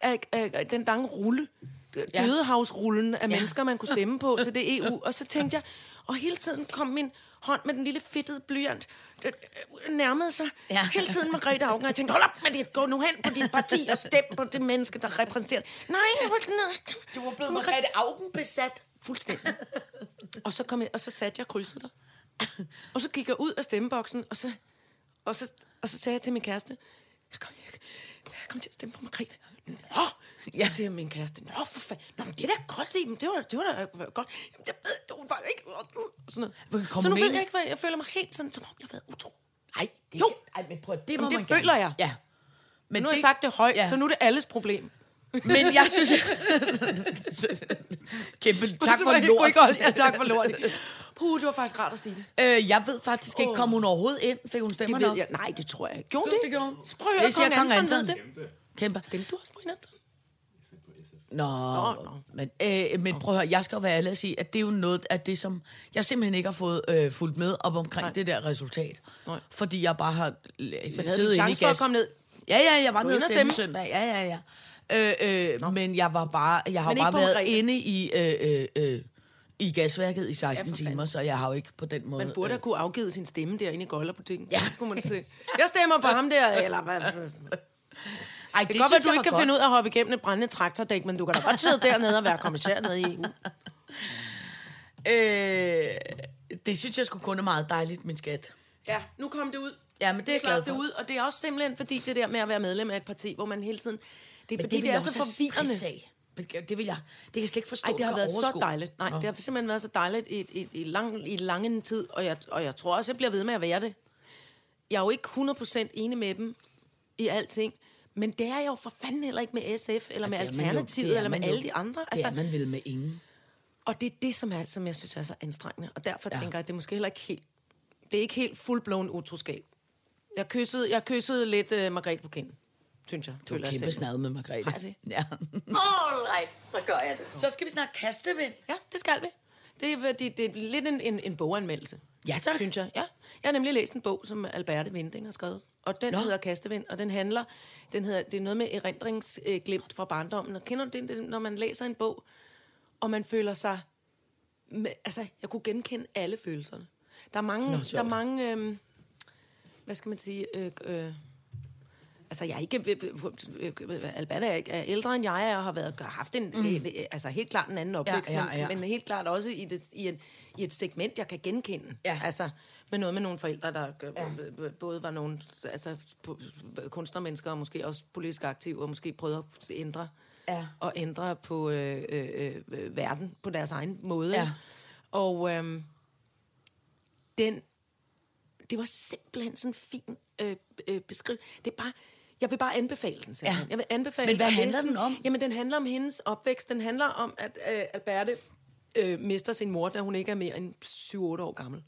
af, af, af den lange rulle. Ja. Ja. Dødehavsrullen af ja. mennesker, man kunne stemme på til det EU. Og så tænkte jeg, og hele tiden kom min hånd med den lille fedtede blyant, det øh, nærmede sig Ja. ja. hele tiden Margrethe Augen, og jeg tænkte, hold op med det, gå nu hen på dit parti og stem på det menneske, der repræsenterer det." Nej, jeg var Du var blevet Margrethe Augen besat. Fuldstændig. og, så kom jeg, og så satte jeg krydset der. og så gik jeg ud af stemmeboksen, og så, og så, og så sagde jeg til min kæreste, jeg kom, jeg, jeg kom til at stemme på Margrethe. Nå! Ja. Så siger min kæreste, nå for fanden, nå, men det er da godt, Iben, det var, det var da øh, godt. Jamen, det ved du faktisk ikke. Og Sådan Hvor kom noget. Så nu hun ved ind? jeg ikke, hvad jeg føler mig helt sådan, som om jeg har været utro. Nej, det, Jo. Ej, men prøv, at- det må Jamen, det man gerne. føler jeg. Ja. Men Nu har jeg sagt det højt, ja. så nu er det alles problem. Men jeg synes... Kæmpe tak for Jeg kunne lort. ikke holde- Ja, tak for lort. Puh, det var faktisk rart at sige det. Øh, jeg ved faktisk ikke, kom hun overhovedet ind? Fik hun stemmer Det ved nok? jeg. Nej, det tror jeg ikke. Gjorde Jo, det? det gjorde hun. Så prøv at Det høre, siger kong Anton, kong ved det. Kæmpe. Stemte du også på hinanden? Nå, nå. men, øh, men prøv at høre, jeg skal jo være ærlig og sige, at det er jo noget af det, som jeg simpelthen ikke har fået øh, fulgt med op omkring Nej. det der resultat. Nej. Fordi jeg bare har l- havde du siddet en inde i chance for at gas. komme ned? Ja, ja, jeg var nede og inde og stemme stemme? søndag. Ja, ja, ja. Øh, øh, men jeg var bare, jeg har Men ikke bare på været Margrethe? inde i, øh, øh, øh, i gasværket i 16 ja, timer, så jeg har jo ikke på den måde... Man burde øh, have kunne afgive sin stemme derinde i Gollerbutikken. Ja. kunne man se. Jeg stemmer på ham der, eller hvad? Det, ej, det kan godt være, du ikke kan godt. finde ud af at hoppe igennem et brændende traktordæk, men du kan da godt sidde dernede og være kommissær nede i EU. Øh, det synes jeg sgu kun er meget dejligt, min skat. Ja, nu kom det ud. Ja, men det er jeg Slap glad for. det ud, og det er også simpelthen fordi det der med at være medlem af et parti, hvor man hele tiden... Det er Men fordi, vil det, det er jeg så også have stress forvirrende. af. Men Det vil jeg. Det kan jeg slet ikke forstå. Ej, det har kan været så overskue. dejligt. Nej, det har simpelthen været så dejligt i, i, i, lang, i lang en tid, og jeg, og jeg tror også, jeg bliver ved med at være det. Jeg er jo ikke 100% enig med dem i alting, Men det er jeg jo for fanden heller ikke med SF, eller med det er man jo. Alternativet, Det er eller med man jo. alle de andre. Altså, Det er man vil med ingen. Og det er det, som, er, som jeg synes er så anstrengende. Og derfor Ja. ja. tænker jeg, at det er måske heller ikke helt... Det er ikke helt fuldblåen utroskab. Jeg kyssede, jeg kyssede lidt uh, Margrethe på kinden, synes jeg. Du er kæmpe snad med Margrethe. Har jeg det? Ja. All right, så gør jeg det. Så skal vi snart kastevind. Ja, det skal vi. Det er, fordi, det er lidt en, en, en boganmeldelse. Ja, tak. Synes jeg, ja. Jeg har nemlig læst en bog, som Alberte Winding har skrevet. Og den Nå. Nå. hedder Kastevind, og den handler... Den hedder, det er noget med erindringsglimt fra barndommen. Og kender du det, det, når man læser en bog, og man føler sig... Med, altså, jeg kunne genkende alle følelserne. Der er mange... Nå, der er sjovt. mange øhm, hvad skal man sige... Øh, øh, Altså, jeg er ikke... øh, Albert er, ikke, er ældre end jeg er, og har været, har haft en... Mm. Altså, helt klart en anden opvækst, ja, men- ja. men helt klart også i, det, i, en, i et segment, jeg kan genkende. Ja. Altså, med noget med nogle forældre, der ja. både var nogle altså, pu- kunstnermennesker, og måske også politisk aktive, og måske prøvede at ændre, Ja. og ændre på øh, øh, øh, verden på deres egen måde. Ja. Og øhm, den det var simpelthen sådan en fin øh, øh, beskriv. Det er bare, jeg vil bare anbefale den simpelthen. Ja. Jeg vil anbefale Men hvad at læse handler den om? Jamen, den handler om hendes opvækst. Den handler om, at øh, Alberte øh, mister sin mor, da hun ikke er mere end 7-8 år gammel.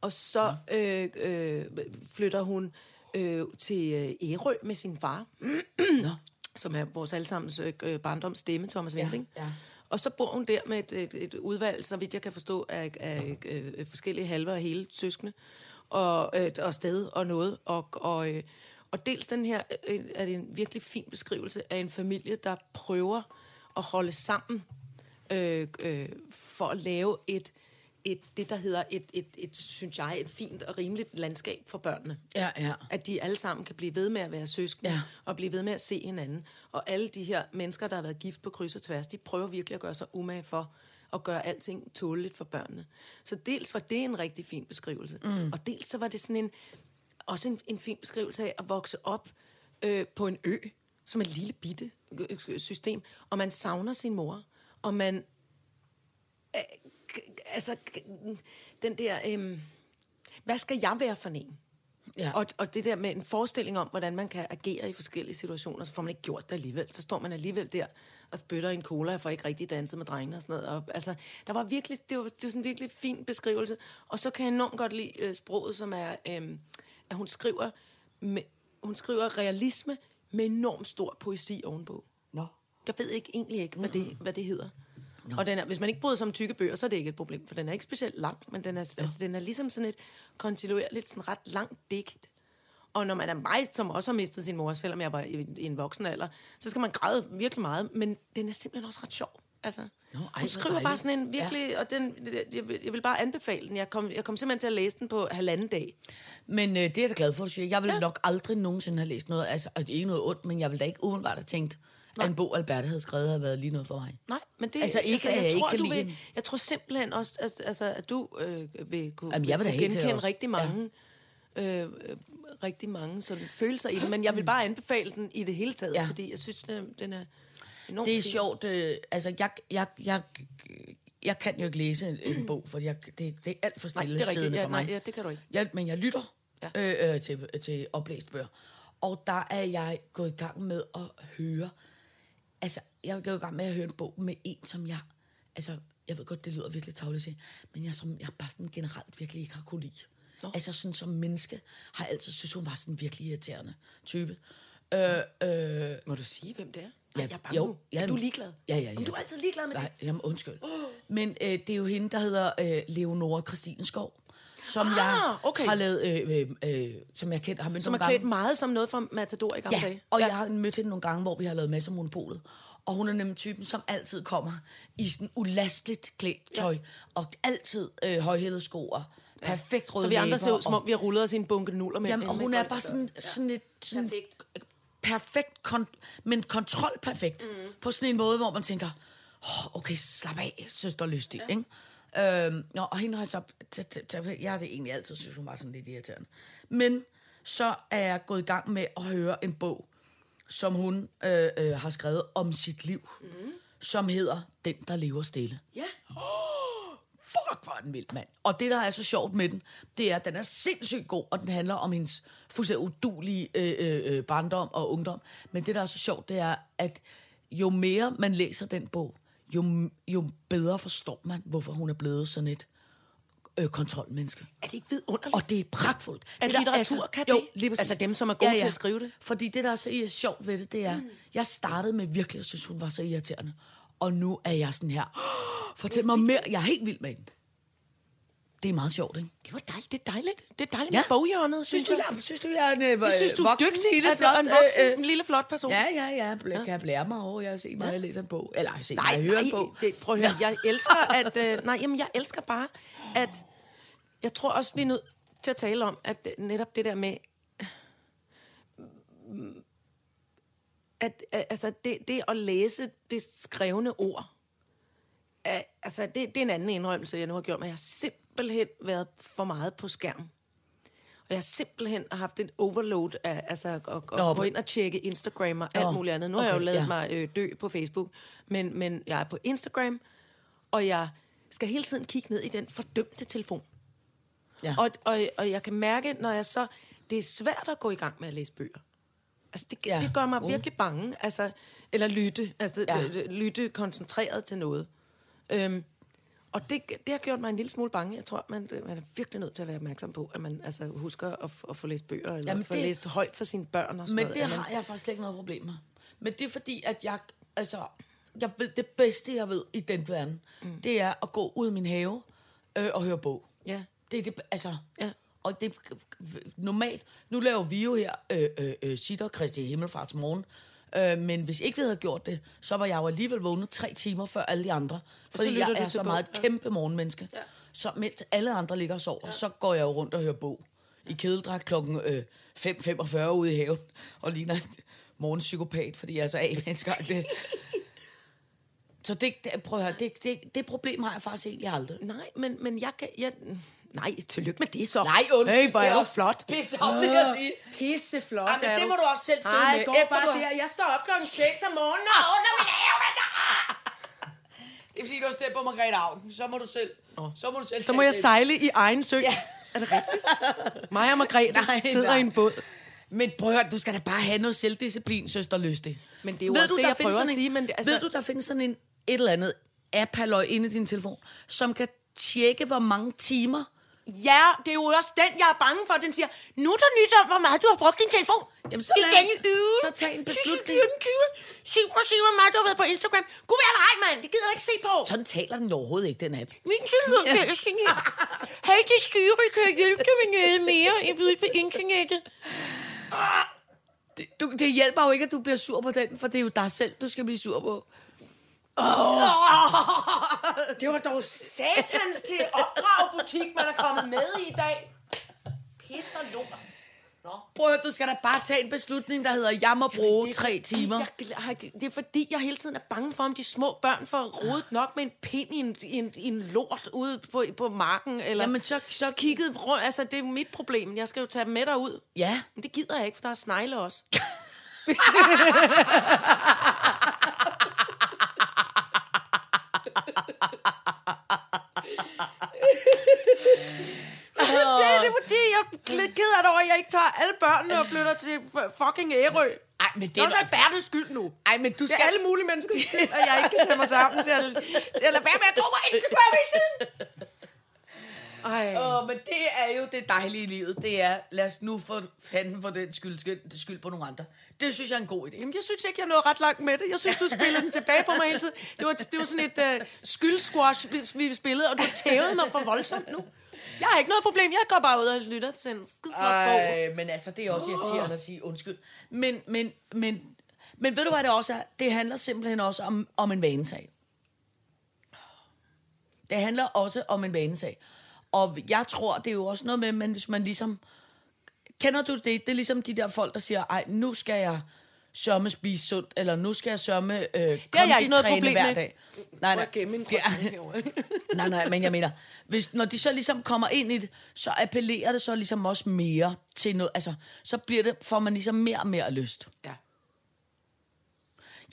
Og så øh, øh, flytter hun øh, til øh, Ærø med sin far, som er vores allesammens øh, øh, barndoms stemme, Thomas Vinding. ja. Og så bor hun der med et, et, et udvalg, så vidt jeg kan forstå, af, af øh, forskellige halve og hele søskende, og, øh, og sted og noget. Og, og, øh, og dels den her øh, er det en virkelig fin beskrivelse af en familie, der prøver at holde sammen øh, øh, for at lave et, et det, der hedder et, et, et, synes jeg, et fint og rimeligt landskab for børnene Ja, ja. at de alle sammen kan blive ved med at være søskende, Ja. ja. og blive ved med at se hinanden. Og alle de her mennesker, der har været gift på kryds og tværs, de prøver virkelig at gøre sig umage for at gøre alting tåleligt for børnene. Så dels var det en rigtig fin beskrivelse, mm. og dels så var det sådan en, også en, en fin beskrivelse af at vokse op øh, på en ø, som er et lille bitte øh, øh, system, og man savner sin mor, og man... Øh, k- altså, k- den der... Øh, hvad skal jeg være for en? ja. Og, og det der med en forestilling om, hvordan man kan agere i forskellige situationer, så får man ikke gjort det alligevel. Så står man alligevel der og spytter i en cola, for ikke rigtig danset med drengene og sådan noget. Og, altså, der var virkelig, det var, det var sådan en virkelig fin beskrivelse. Og så kan jeg enormt godt lide øh, sproget, som er, øh, at hun skriver, med, hun skriver realisme med enormt stor poesi ovenpå. Nå. Jeg ved ikke egentlig ikke, hvad det, hvad det hedder. No. Og den er, hvis man ikke bryder sig om tykke bøger, så er det ikke et problem, for den er ikke specielt lang, men den er, altså, den er ligesom sådan et kontinuerligt, sådan ret langt digt. Og når man er mig, som også har mistet sin mor, selvom jeg var i, i en voksen alder, så skal man græde virkelig meget, men den er simpelthen også ret sjov. Altså, no, ej, ej, hvor hun skriver bare dejligt. sådan en virkelig, ja. og den, jeg, vil- jeg vil bare anbefale den. Jeg kom, jeg kom simpelthen til at læse den på halvanden dag. Men øh, det er jeg da glad for, at du siger. Jeg vil ja. nok aldrig nogensinde have læst noget, altså, og det er ikke noget ondt, men jeg vil da ikke umiddelbart have tænkt, Nej. at en bog, Albert havde skrevet, havde været lige noget for mig. Nej, men det Altså, ikke, at jeg ikke kan du lide vil, hende. Jeg tror simpelthen også, at, altså, at du øh, vil kunne, Jamen, jeg vil da kunne helt til genkende også. rigtig mange, ja. øh, øh, rigtig mange sådan, følelser i den. Men jeg vil bare anbefale den i det hele taget, Ja. ja. fordi jeg synes, den er, den er enormt Det er fin. sjovt. Øh, altså, jeg, jeg, jeg, jeg kan jo ikke læse en, en bog, for jeg, det, det er alt for Nej, stille det er rigtigt. siddende Ja, for mig. nej, ja, det kan du ikke. jeg, men jeg lytter Ja. ja. øh, til, til oplæst bøger. Og der er jeg gået i gang med at høre... Altså, jeg er gået i gang med at høre en bog med en, som jeg... Altså, jeg ved godt, det lyder virkelig tavligt til, men jeg, som, jeg bare sådan generelt virkelig ikke har kunne lide. Nå. Altså, sådan som menneske har jeg altid synes, hun var sådan en virkelig irriterende type. Øh, Må du sige, hvem det er? Ja, Ja, jeg er bange jo, jo, ja, ja, Er du men- ligeglad? Ja, ja, ja. Om du er altid ligeglad med Nej, det? jamen undskyld. Men øh, det er jo hende, der hedder øh, Leonora Kristineskov, som ah, jeg okay. har lavet, øh, øh, øh, som jeg kendt, har mødt Som nogle er gange. klædt meget som noget fra Matador i gamle Ja, dage. og ja. jeg har mødt hende nogle gange, hvor vi har lavet masser af monopolet. Og hun er nemlig typen, som altid kommer i sådan ulasteligt klædt tøj, ja. og altid øh, højhælede sko og perfekt røde Så vi andre ser ud, som og, om vi har rullet os i en bunke nuller med. Jamen, og med hun er folk. bare sådan, sådan lidt... Sådan perfekt. Perfekt. Perfekt, kon- men kontrolperfekt. Mm. På sådan en måde, hvor man tænker, oh, okay, slap af, søster lystig, ja. ikke? Øhm, nå, og hende har jeg så... t- t- t- Jeg har det egentlig altid synes, hun var sådan lidt irriterende. Men så er jeg gået i gang med at høre en bog, som hun øh, øh, har skrevet om sit liv, mm. som hedder Den, der lever stille. Ja. Fuck, fuck, hvor er den vild, mand. Og det, der er så sjovt med den, det er, at den er sindssygt god, og den handler om hendes fuldstændig udulige øh, øh, øh, barndom og ungdom. Men det, der er så sjovt, det er, at jo mere man læser den bog, jo, jo bedre forstår man, hvorfor hun er blevet sådan et øh, kontrolmenneske. Er det ikke vidunderligt? Og det er pragtfuldt. At det der- litteratur kan jo, det? Lige præcis. Altså dem, som er gode til at skrive det? Fordi det, der er så ir- sjovt ved det, det er, mm. jeg startede med virkelig at synes, hun var så irriterende. Og nu er jeg sådan her, "Åh, fortæl mig mere, jeg er helt vild med hende. Det er meget sjovt, ikke? Det var dejligt. Det er dejligt. Det er dejligt ja. med boghjørnet. Synes du, jeg. jeg, synes du, jeg er en øh, Jeg synes, du er voksen, dygtig lille, at- flot, og en voksen, øh, øh, en lille flot person. Ja, ja, ja. Bl- Kan jeg blære mig over, jeg har set meget, jeg læser en bog. Eller jeg har set nej, Nej, meget, jeg hører en nej, bog. det, prøv at høre. Jeg elsker, at... Øh, nej, jamen, jeg elsker bare, at... Jeg tror også, vi er nødt til at tale om, at øh, netop det der med... At, at altså, det, det at læse det skrevne ord, at, altså, det, det er en anden indrømmelse, jeg nu har gjort, men jeg har simpelthen været for meget på skærm. Og jeg har simpelthen haft en overload af altså, at, at Nå, gå ind og tjekke Instagram og alt Nå, muligt andet. Nu har jeg okay, jo lavet ja. ja. mig mig øh, dø på Facebook, men, men jeg er på Instagram, og jeg skal hele tiden kigge ned i den fordømte telefon. Ja. Og, og, og jeg kan mærke, når jeg så... Det er svært at gå i gang med at læse bøger. Altså, det, Ja. ja. det gør mig Uh. virkelig bange. Altså, eller lytte. Altså, Ja. ja. lytte koncentreret til noget. Øhm, og det, det har gjort mig en lille smule bange. Jeg tror, man, øh, man er virkelig nødt til at være opmærksom på, at man altså, husker at, f- at få læst bøger, eller Jamen, Jamen, få det- det... læst højt for sine børn og sådan Men noget. det At man- har jeg faktisk slet ikke noget problem med. Men det er fordi, at jeg, altså, jeg ved det bedste, jeg ved i den verden, mm. det er at gå ud i min have øh, og høre bog. Ja. Det er det, altså, Ja. og det normalt, nu laver vi jo her øh, øh, øh, sitter Kristi Himmelfarts morgen, øh, men hvis ikke vi havde gjort det, så var jeg jo alligevel vågnet tre timer før alle de andre, fordi lytter jeg du er til så bog, meget ja. kæmpe morgenmenneske. Ja. Så mens alle andre ligger og sover, ja. så går jeg jo rundt og hører bog i kædeldragt klokken øh, 5.45 ude i haven, og ligner en morgenpsykopat, fordi jeg er så af mennesker. Det. Så det, det, prøv at høre, det, det, det problem har jeg faktisk egentlig aldrig. Nej, men, men jeg kan... Jeg, nej, tillykke med det så. Nej, undskyld. Hey, hvor det er du også flot. Pisse om, det kan jeg sige. Pisseflot Ej, men det må du også selv sidde Ej, med, gå efter du bare har- der. Jeg står op klokken 6 om morgenen og under min ævne. Ah. Det er fordi, du har stemt på Margrethe Augen. Så må du selv. Oh. Så må du selv. Så må jeg sejle i egen sø. Ja. Ja. Er det rigtigt? Mig og Margrethe Nej, nej, nej. sidder nej. i en båd. Men prøv at høre, du skal da bare have noget selvdisciplin, søster Lyste. Men det er jo også det, der jeg findes prøver at sådan en- sige, men det- altså- Ved du, der findes sådan en et eller andet app halløj inde i din telefon, som kan tjekke, hvor mange timer... Ja, det er jo også den, jeg er bange for. Den siger, nu er der nyt om, hvor meget du har brugt din telefon. Jamen, så I lad- denne uge. så tag en beslutning. 20, 27, hvor meget du har været på Instagram. Gud være dig, mand. Det gider jeg ikke se på. Sådan taler den overhovedet ikke, den app. Min telefonfælsing her. Hej, det styre, kan jeg hjælpe dig med noget mere end ude på internettet? Det, du, det hjælper jo ikke, at du bliver sur på den, for det er jo dig selv, du skal blive sur på. Det var dog satans til opdragbutik, man er kommet med i i dag. Pis og lort. Prøv at høre, du skal da bare tage en beslutning, der hedder, jeg må bruge tre timer. Jeg, gl- har- det er fordi, jeg hele tiden er bange for, om de små børn får rodet nok med en pind i en, i en, i en lort ude på, på marken. Eller Jamen, så- så- kigget rundt. Altså, det er jo mit problem. Jeg skal jo tage dem med derud. Ja. Men det gider jeg ikke, for der er snegle også. det er det, fordi jeg er lidt ked af det over, at jeg ikke tager alle børnene og flytter til f- fucking Ærø. Ej, men Det er også Albertes skyld nu. Ej, men du Det skal... er alle mulige menneskers skyld, at jeg ikke kan tage mig sammen til at, til at lade være med at bruge mig Instagram hele tiden. Ej. Åh, men det er jo det dejlige i livet. Det er, lad os nu for fanden for den skyld, skyld, skyld på nogle andre. Det synes jeg er en god idé. Jamen, jeg synes ikke, jeg nåede ret langt med det. Jeg synes, du spillede den tilbage på mig hele tiden. Det var, det var sådan et øh, skyldsquash, vi- vi spillede, og du tævede mig for voldsomt nu. Jeg har ikke noget problem. Jeg går bare ud og lytter til en skide flot bog. Ej, men altså, det er også irriterende at sige undskyld. Men, men, men, men ved du, hvad det også er? Det handler simpelthen også om, om en vanesag. Det handler også om en vanesag. Og jeg tror, det er jo også noget med, men hvis man ligesom... Kender du det? Det er ligesom de der folk, der siger, ej, nu skal jeg sørme spise sundt, eller nu skal jeg sørme øh, det har jeg ikke noget problem hver med. dag. Nej, nej. gemme en Det er- Nej, nej, men jeg mener, hvis, når de så ligesom kommer ind i det, så appellerer det så ligesom også mere til noget, altså, så bliver det, får man ligesom mere og mere lyst. Ja.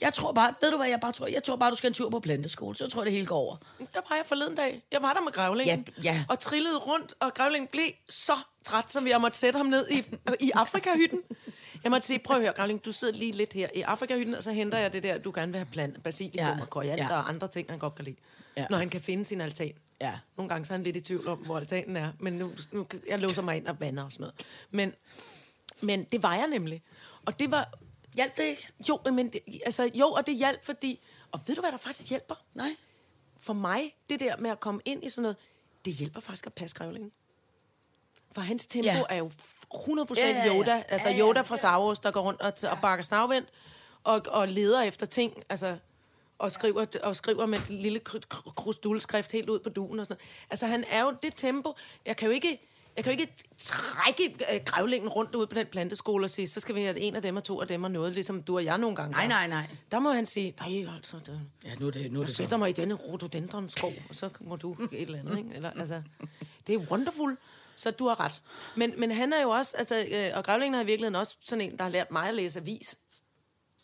Jeg tror bare, ved du hvad jeg bare tror? Jeg tror bare, du skal en tur på planteskole, så tror jeg, det hele går over. Der var jeg forleden dag. Jeg var der med grævlingen. Ja, ja. Og trillede rundt, og grævlingen blev så træt, som jeg måtte sætte ham ned i, i Afrikahytten. Jeg måtte sige, prøv at høre, Grævling, du sidder lige lidt her i Afrikahytten, og så henter jeg det der, du gerne vil have plant, basilikum Ja, ja. og koriander ja. ja. og andre ting, han godt kan lide. Ja. Ja. Når han kan finde sin altan. Ja. Nogle gange så er han lidt i tvivl om, hvor altanen er, men nu, nu jeg låser mig ind og vander og sådan noget. Men, men det var jeg nemlig. Og det var, Hjalp det ikke? jo, men det, altså, jo, og det hjalp, fordi... Og ved du, hvad der faktisk hjælper? Nej. for mig, det der med at komme ind i sådan noget, det hjælper faktisk at passe grævlingen. For hans tempo Ja. ja. er jo 100% Ja, ja, ja. Yoda. Altså Ja, ja, Yoda fra Star Wars, der går rundt og, t- og bakker snavvendt, og, og leder efter ting, altså, og skriver, og skriver med et lille kry- kry- krustulskrift helt ud på duen og sådan noget. Altså han er jo det tempo, jeg kan jo ikke... Jeg kan jo ikke trække øh, grævlingen rundt ud på den planteskole og sige, så skal vi have en af dem og to af dem og noget, ligesom du og jeg nogle gange Nej, gør. nej, nej. Der må han sige, nej, altså, det, Ja, nu er det, nu er jeg det sætter mig i denne rhododendron-skov, og så må du et eller andet, ikke? Eller, altså, det er wonderful, så du har ret. Men, men han er jo også, altså, øh, og Grævlingen har i virkeligheden også sådan en, der har lært mig at læse avis.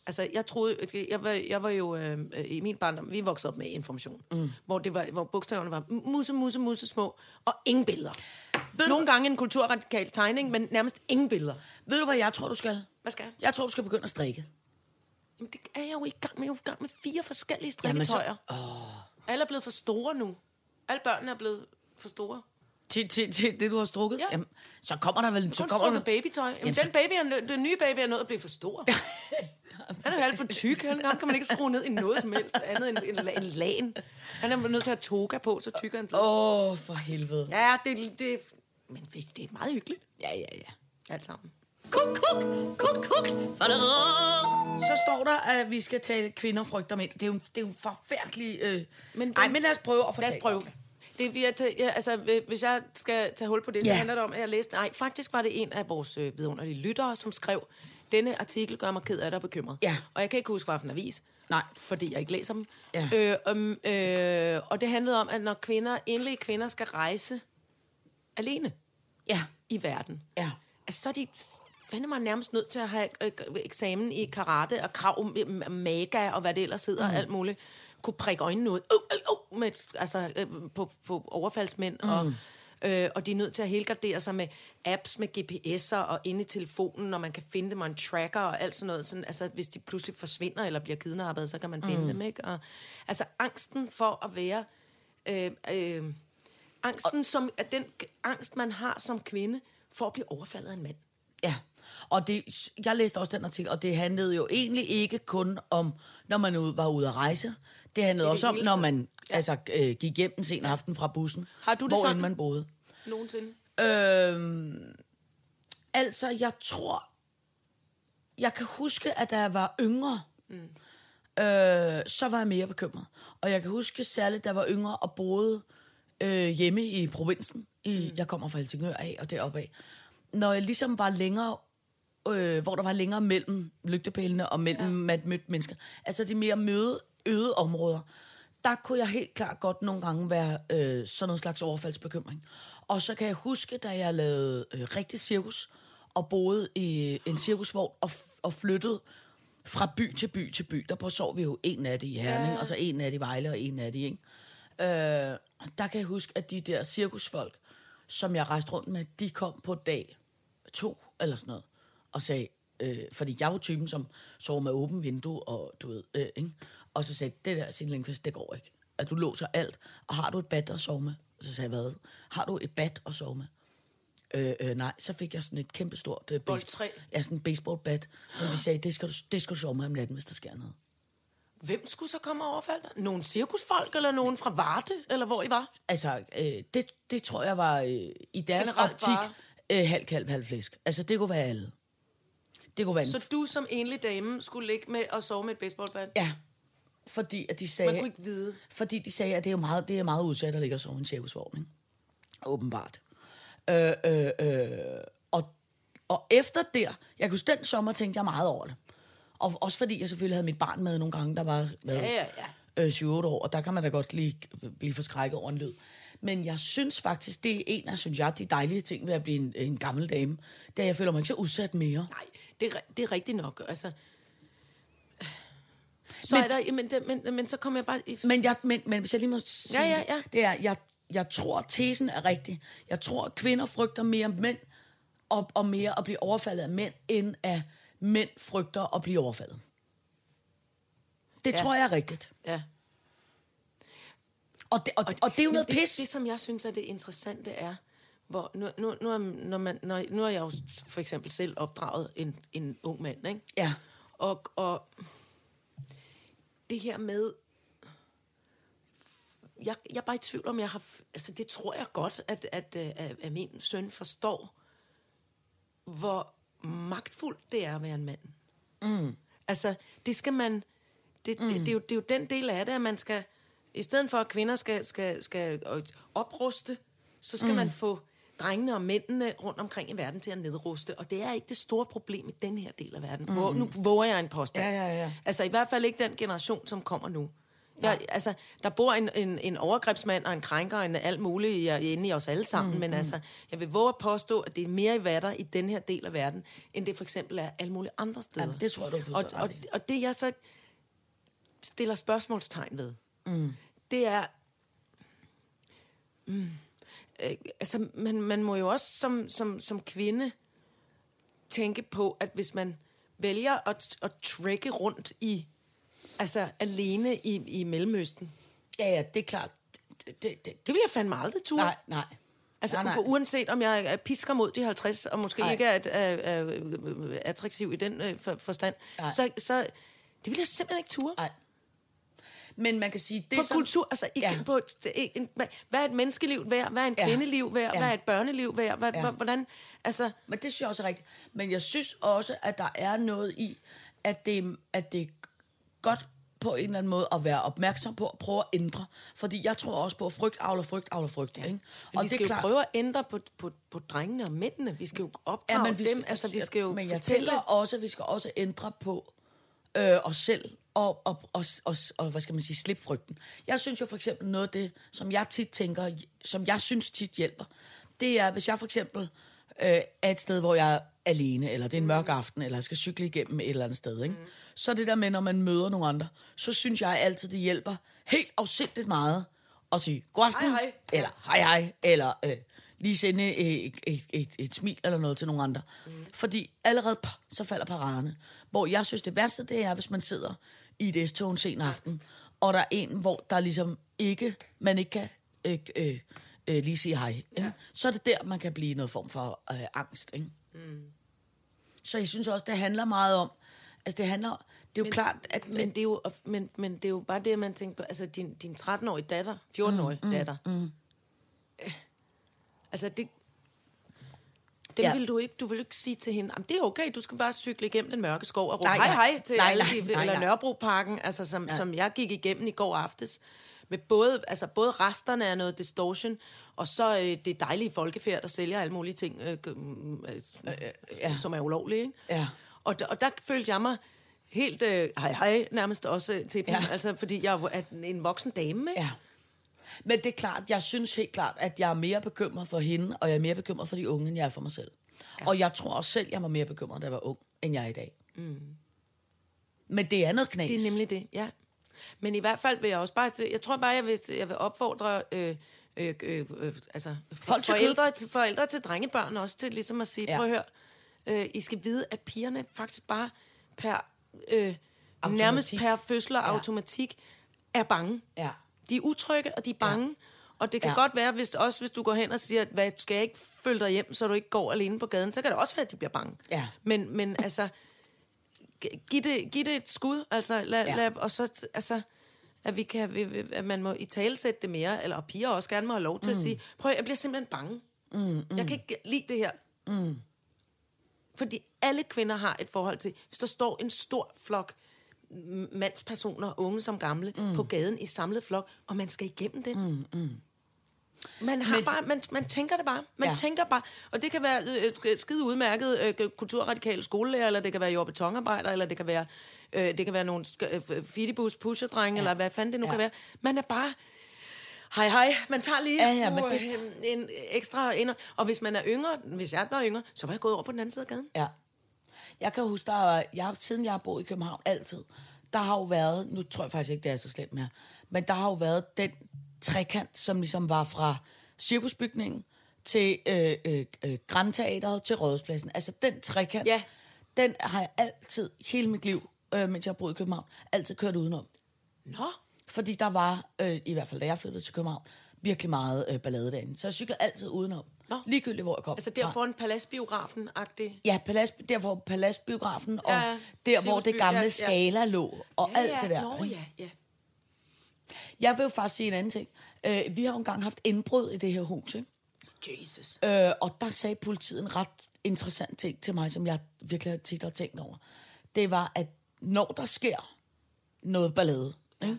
Altså, jeg troede, jeg var, jeg var jo øh, øh, i min barndom, vi voksede op med information, mm. hvor, det var, hvor bogstaverne var musse, musse, musse små, og ingen billeder. Nogle gange en kulturradikal tegning, men nærmest ingen billeder. Ved du, hvad jeg tror, du skal? Hvad skal jeg? Jeg tror, du skal begynde at strikke. Jamen, det er jeg jo i gang med. Jeg er jo i gang med fire forskellige Jamen, så- strikketøjer. Åh. Alle er blevet for store nu. Alle børnene er blevet for store. Til, til, til det, du har strukket? Ja. Jamen, så kommer der vel... Så Kun kommer strukket der, babytøj. Jamen, Jamen, Jamen, så- den, baby er, nø- den nye baby er nået at blive for stor. Han er jo alt for tyk. Han, ham kan man ikke skrue ned i noget som helst andet end en, la- en lagen. Han er nødt til at have toga på, så tykker han bliver. Åh, oh, for helvede. Ja, det, det, men det det er meget hyggeligt. Ja, ja, ja. Alt sammen. Kuk, kuk, kuk, kuk. Så står der, at vi skal tale kvinder frygter mænd. Det er jo, det er jo en forfærdelig... Øh... Men, Men- Ej, men lad os prøve at Lad os fortælle. prøve. Det, vi er til, ja, altså, øh, hvis jeg skal tage hul på det, Ja. så handler det om, at jeg læste... Nej, faktisk var det en af vores øh, vidunderlige lyttere, som skrev, denne artikel gør mig ked af det og bekymret. Ja. Og jeg kan ikke huske, hvad for en avis. Nej. Fordi jeg ikke læser dem. Ja. Øh, um, øh, og det handlede om, at når kvinder, enlige kvinder skal rejse alene Ja, i verden, ja. altså, så er de fandme mig nærmest nødt til at have øh, eksamen i karate og krav om øh, maga og hvad det ellers hedder mm. og alt muligt. Kunne prikke øjnene ud uh, uh, uh, med, altså, øh, på, på overfaldsmænd. Mm. Og, øh, og de er nødt til at helgardere sig med apps med GPS'er og inde i telefonen, når man kan finde dem og en tracker og alt sådan noget. Sådan, altså, hvis de pludselig forsvinder eller bliver kidnappet, så kan man finde mm. dem. Ikke? Og, altså angsten for at være... Øh, øh, angsten, som, at den k- angst, man har som kvinde, for at blive overfaldet af en mand. Ja. Og det, jeg læste også den artikel, og det handlede jo egentlig ikke kun om, når man ud, var ude at rejse. Det handlede det det også om, hele når taget. man ja. altså, øh, gik hjem en sen aften fra bussen. Har du det hvor sådan? man boede. Nogensinde. Øhm, altså, jeg tror... Jeg kan huske, at da jeg var yngre, mm. øh, så var jeg mere bekymret. Og jeg kan huske særligt, da jeg var yngre og boede øh, hjemme i provinsen. I, mm. Jeg kommer fra Helsingør af og deroppe af. Når jeg ligesom var længere øh, hvor der var længere mellem lygtepælene og mellem ja. at mødte mennesker. Altså de mere møde, øde områder. Der kunne jeg helt klart godt nogle gange være øh, sådan noget slags overfaldsbekymring. Og så kan jeg huske, da jeg lavede øh, rigtig cirkus, og boede i en cirkusvogn og, f- og flyttede fra by til by til by. Der sov vi jo en nat i Herning, ja. og så en nat i Vejle og en nat i, ikke? Øh, der kan jeg huske, at de der cirkusfolk, som jeg rejste rundt med, de kom på dag to eller sådan noget, og sagde, øh, fordi jeg var typen, som sov med åbent vindue, og du ved, øh, ikke? Og så sagde de, det der sin Lindqvist, det går ikke. At du låser alt, og har du et bad at sove med? Så sagde jeg, hvad? Har du et bad at sove med? Øh, øh, nej, så fik jeg sådan et kæmpestort øh, baseball, Boldtræ. ja, sådan en baseballbat, som de sagde, det skal, du, det skal du sove med om natten, hvis der sker noget. Hvem skulle så komme og overfalde dig? Nogle cirkusfolk, eller nogen fra Varde, eller hvor I var? altså, øh, det, det tror jeg var øh, i deres Generelt optik bare- øh, halv kalv, halv flæsk. Altså, det kunne være alle. Det kunne være en, Så du som enlig dame skulle ligge med og sove med et baseballbat? Ja, fordi at de sagde... Man kunne ikke vide. Fordi de sagde, at det er jo meget, det er meget udsat at ligge og sove i en cirkusvogn, ikke? Åbenbart. Øh, øh, øh, og, og efter der, jeg kunne huske, den sommer tænkte jeg meget over det. Og også fordi jeg selvfølgelig havde mit barn med nogle gange, der var hvad, Ja, ja, øh, 7-8 år, og der kan man da godt lige blive forskrækket over en lyd. Men jeg synes faktisk, det er en af, synes jeg, de dejlige ting ved at blive en, en gammel dame, da jeg føler mig ikke så udsat mere. Nej, det er, ri- det er rigtigt nok. Altså, Så men, er der, men, det, men, men så kommer jeg bare... I, Men, jeg, men, men hvis jeg lige må sige Ja, ja, det, ja. det er, jeg, jeg tror, at tesen er rigtig. Jeg tror, at kvinder frygter mere mænd, og, og mere at blive overfaldet af mænd, end at mænd frygter at blive overfaldet. Det ja. tror jeg er rigtigt. ja. Og det, og, og, og det er jo Men noget det, pis. Det, som jeg synes er det interessante er, hvor nu, nu, nu, er, når man, når, nu er jeg jo for eksempel selv opdraget en, en ung mand, ikke? Ja. Og, og det her med... Jeg, jeg er bare i tvivl om, jeg har... f- Altså, det tror jeg godt, at, at, øh, at, at min søn forstår, hvor magtfuldt det er at være en mand. Mm. Altså, det skal man... Det, mm. det, det, er jo, det er jo den del af det, at man skal... I stedet for, at kvinder skal, skal, skal øh, opruste, så skal mm. man få drengene og mændene rundt omkring i verden til at nedruste. Og det er ikke det store problem i den her del af verden. Mm. Hvor, nu våger jeg en påstand. Ja, ja, ja. Altså, i hvert fald ikke den generation, som kommer nu. Jeg, altså, der bor en, en, en overgrebsmand og en krænker og en alt muligt i- inde i os alle sammen, mm, men altså, jeg vil våge at påstå, at det er mere i vatter i den her del af verden, end det for eksempel er alle mulige andre steder. Jamen, det tror jeg, du har og, fuldstændig og, ret i. og det jeg så stiller spørgsmålstegn ved, mm. det er... Mm, øh, altså, man, man må jo også som, som, som kvinde tænke på, at hvis man vælger at, at trække rundt i, altså alene i, i Mellemøsten, Ja, ja, det er klart. Det, det, det. det vil jeg fandme aldrig turde. Nej, nej. Altså, nej, nej. uanset om jeg øh, pisker mod de 50, og måske Nej. Ej. ikke er at, øh, øh, øh, attraktiv i den øh, for, forstand, Nej. så, så det vil jeg simpelthen ikke ture. nej. Men man kan sige, det på som... kultur, altså ikke Ja. ja. på, et- det- ikke en, hvad- hvad er et menneskeliv værd, hvad er en Ja. kvindeliv værd, Ja. hvad er et børneliv værd, hvad, Ja. ja. hvordan, altså, Men det synes jeg også er rigtigt. Men jeg synes også, at der er noget i, at det, at det er godt på en eller anden måde at være opmærksom på at prøve at ændre. Fordi jeg tror også på, at frygt avler frygt avler frygt. Ja. Ikke? Men og vi skal jo prøve at ændre på, på, på drengene og mændene. Vi skal jo opdrage ja, men vi skal, dem. Altså, vi skal jo Men jeg fortælle... tænker også, at vi skal også ændre på øh, os selv og, og, og, og, og, hvad skal man sige, slippe frygten. Jeg synes jo for eksempel noget af det, som jeg tit tænker, som jeg synes tit hjælper, det er, hvis jeg for eksempel øh, er et sted, hvor jeg er alene, eller det er en Mm. mørk aften, eller jeg skal cykle igennem et eller andet sted, ikke? så det der med, når man møder nogle andre, så synes jeg altid, det hjælper helt afsindigt meget at sige god aften, Hej, hej. eller hej hej, eller øh, lige sende øh, et, et, et, et smil eller noget til nogle andre. Mm. Fordi allerede pah, så falder paraderne. Hvor jeg synes, det værste det er, hvis man sidder i et S-tog en sen aften, og der er en, hvor der ligesom ikke, man ikke kan øh, øh, øh, lige sige hej. Ja. Så er det der, man kan blive noget form for øh, angst. Ikke? Mm. Så jeg synes også, det handler meget om, altså det handler, det er jo men, klart, at... Men det, er jo, men, men det er jo bare det, man tænker på. Altså, din, din 13-årige datter, 14-årige mm, datter. Mm, mm. Altså, det... Dem Ja. ja. vil du ikke, du vil ikke sige til hende, "Jamen, det er okay, du skal bare cykle igennem den mørke skov og råbe Nej, nej, hej nej. hej til Nej, alle nej, de, nej, eller nej. Nørrebroparken, altså som, ja. som jeg gik igennem i går aftes, med både, altså både resterne af noget distortion, og så øh, det dejlige folkefærd, der sælger alle mulige ting, øh, g- mm, øh, ja. ja. som er ulovlige. Ikke? Ja. Og, d- og der følte jeg mig helt øh, hej hej nærmest også øh, til dem, Ja. ja. altså, fordi jeg er en- en voksen dame. Ikke? Ja. Men det er klart, jeg synes helt klart, at jeg er mere bekymret for hende, og jeg er mere bekymret for de unge, end jeg er for mig selv. Ja. Og jeg tror også selv, jeg var mere bekymret, da jeg var ung, end jeg er i dag. Mm. Men det er noget knas. Det er nemlig det, ja. Men i hvert fald vil jeg også bare til, jeg tror bare, jeg vil, jeg vil opfordre øh, øh, øh, øh, altså, Folk Folk til forældre, til, forældre til drengebørn også, til ligesom at sige, Ja. ja. prøv at høre, øh, I skal vide, at pigerne faktisk bare per, øh, nærmest Automatik. per fødsler Ja. ja. automatik er bange. Ja. De er utrygge, og de er bange. Ja. Og det kan Ja. ja. godt være, hvis, også hvis du går hen og siger, at hvad, skal jeg ikke følge dig hjem, så du ikke går alene på gaden, så kan det også være, at de bliver bange. Ja. Men, men altså, gi- giv det, giv det et skud, altså, lad, Ja. ja. lad, og så, t- altså, at, vi kan, vi- vi- at man må i talesætte det mere, eller og piger også gerne må have lov til mm. at sige, prøv at- jeg bliver simpelthen bange. Mm, mm. Jeg kan ikke lide det her. Mm. Fordi alle kvinder har et forhold til, hvis der står en stor flok m- mandspersoner, unge som gamle, mm. på gaden i samlet flok, og man skal igennem det. Mm, mm. Man, har Men- men, bare, man, man tænker det bare. Man Ja. ja. tænker bare. Og det kan være øh, sk- skide udmærket øh, kulturradikale skolelærer, eller det kan være jord- og betonarbejder, eller det kan være, øh, det kan være nogle sk- øh, fidibus pusherdrenge, ja. eller hvad fanden det nu Ja. ja. kan være. Man er bare... Hej, hej. Man tager lige Ja, ja, men uh, det- en, en ekstra... Ind, og hvis man er yngre, hvis jeg var yngre, så var jeg gået over på den anden side af gaden. Ja. Jeg kan huske, der var, jeg, siden jeg har boet i København altid, der har jo været, nu tror jeg faktisk ikke, det er så slemt mere, men der har jo været den trekant, som ligesom var fra cirkusbygningen til øh, øh, øh, Grandteateret til Rådhuspladsen. Altså den trekant, Ja. den har jeg altid, hele mit liv, øh, mens jeg har boet i København, altid kørt udenom. Nå, Fordi der var, øh, i hvert fald da jeg flyttede til København, virkelig meget øh, ballade derinde. Så jeg cyklede altid udenom. Nå. Ligegyldigt, hvor jeg kom. altså fra. der foran paladsbiografen-agtig. Ja, palads, der hvor Paladsbiografen og Ja, ja. der, hvor det Cirkusby, gamle ja, ja. skala lå og alt det der. Nå ikke? ja, ja. Jeg vil jo faktisk sige en anden ting. Øh, vi har jo engang haft indbrud i det her hus, ikke? Jesus. Øh, og der sagde politiet en ret interessant ting til mig, som jeg virkelig tit har tænkt over. Det var, at når der sker noget ballade, ja.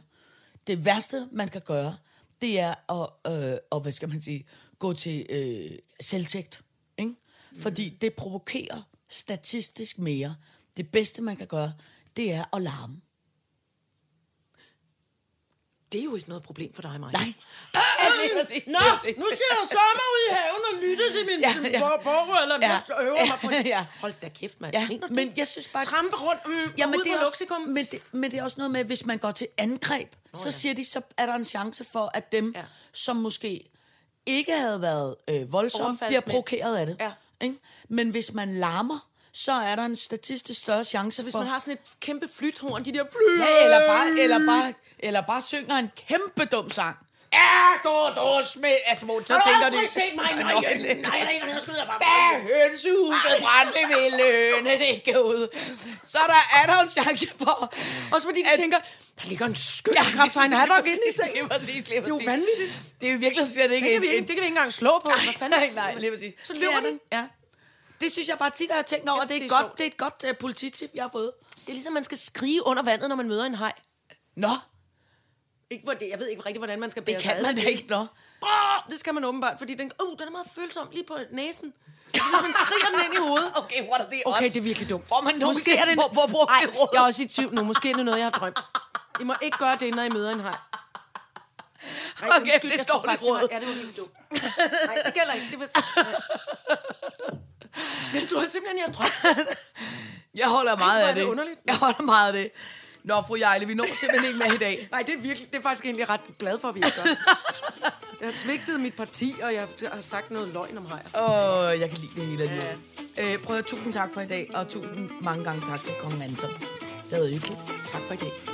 det værste, man kan gøre, det er at, øh, og hvad skal man sige, gå til øh, selvtægt. Ikke? Fordi Mm. det provokerer statistisk mere. Det bedste, man kan gøre, det er at larme. Det er jo ikke noget problem for dig, Maja. Nej. Ja, lige præcis, Ah! Nå, lige præcis. nu skal jeg jo sommer ud i haven og lytte til min Ja, ja, ja. ja. borger, eller ja. Ja. jeg skal øve mig på det. ja. Hold da kæft, mand. Ja, Mener du men det? jeg synes bare... Trampe rundt mm, ja, men ud Mm, det på også, Luxikum. Men det, men det er også noget med, at hvis man går til angreb, så ja. siger de, så er der en chance for, at dem, ja. Ja. som måske ikke havde været øh, voldsomme, bliver Overfaldsmænd. provokeret af det. Ja. Ikke? Men hvis man larmer, så er der en statistisk større chance Hvis for... man har sådan et kæmpe flythorn, de der fly... Ja, eller bare, eller, bare, eller bare synger en kæmpe dum sang. Ja, du, du smed... Altså, hvor, så tænker de... aldrig set mig? Nej, nej, Nå, nej, nej, nej, nej, jeg skyder bare. Da hønsehuset brændte ved lønne, det gik ud. Så der er der en chance for... Også fordi de at- tænker, der ligger en skøn ja, kaptajn Haddock inde i sengen. Lige præcis, lige præcis. jo vanvittigt. Det er jo virkelig slet ikke... Det kan, vi en- ikke, det kan vi ikke engang slå på. Hvad en- fanden? Nej, nej, lige præcis. Så løber Det er den. Ja. Det synes jeg bare tit, at jeg har tænkt over. Kæft, Det er, det et er godt, sjovt. det er et godt uh, polititip, jeg har fået. Det er ligesom, man skal skrige under vandet, når man møder en hej. Nå, Ikke, hvor det, jeg ved ikke rigtig, hvordan man skal det bære sig kan ad. man da ikke, nå. Brrr, det skal man åbenbart, fordi den, uh, den er meget følsom lige på næsen. Så hvis man skriger den ind i hovedet. Okay, what are the odds? Okay, det er virkelig dumt. Får man Måske er det... Hvor, hvor bruger Ej, det råd? jeg er også i tvivl nu. Måske er det noget, jeg har drømt. I må ikke gøre det, når I møder en hej. Ej, Okay, det er jeg tror dårligt faktisk, det var- råd. Ja, det var helt dumt. Nej, det gælder ikke. Det var... Jeg tror simpelthen, jeg har drømt. Jeg holder meget hvor af er det det. underligt. Jeg holder meget af det. Nå, fru Jejle, vi når simpelthen ikke med i dag. Nej, det er, virkelig, det er faktisk egentlig ret glad for, at vi har gjort. Jeg har svigtet mit parti, og jeg har sagt noget løgn om hejer. Åh, jeg kan lide det hele alligevel. Øh, prøv at høre, tusind tak for i dag, og tusind mange gange tak til kongen Anton. Det havde været hyggeligt. Tak for i dag.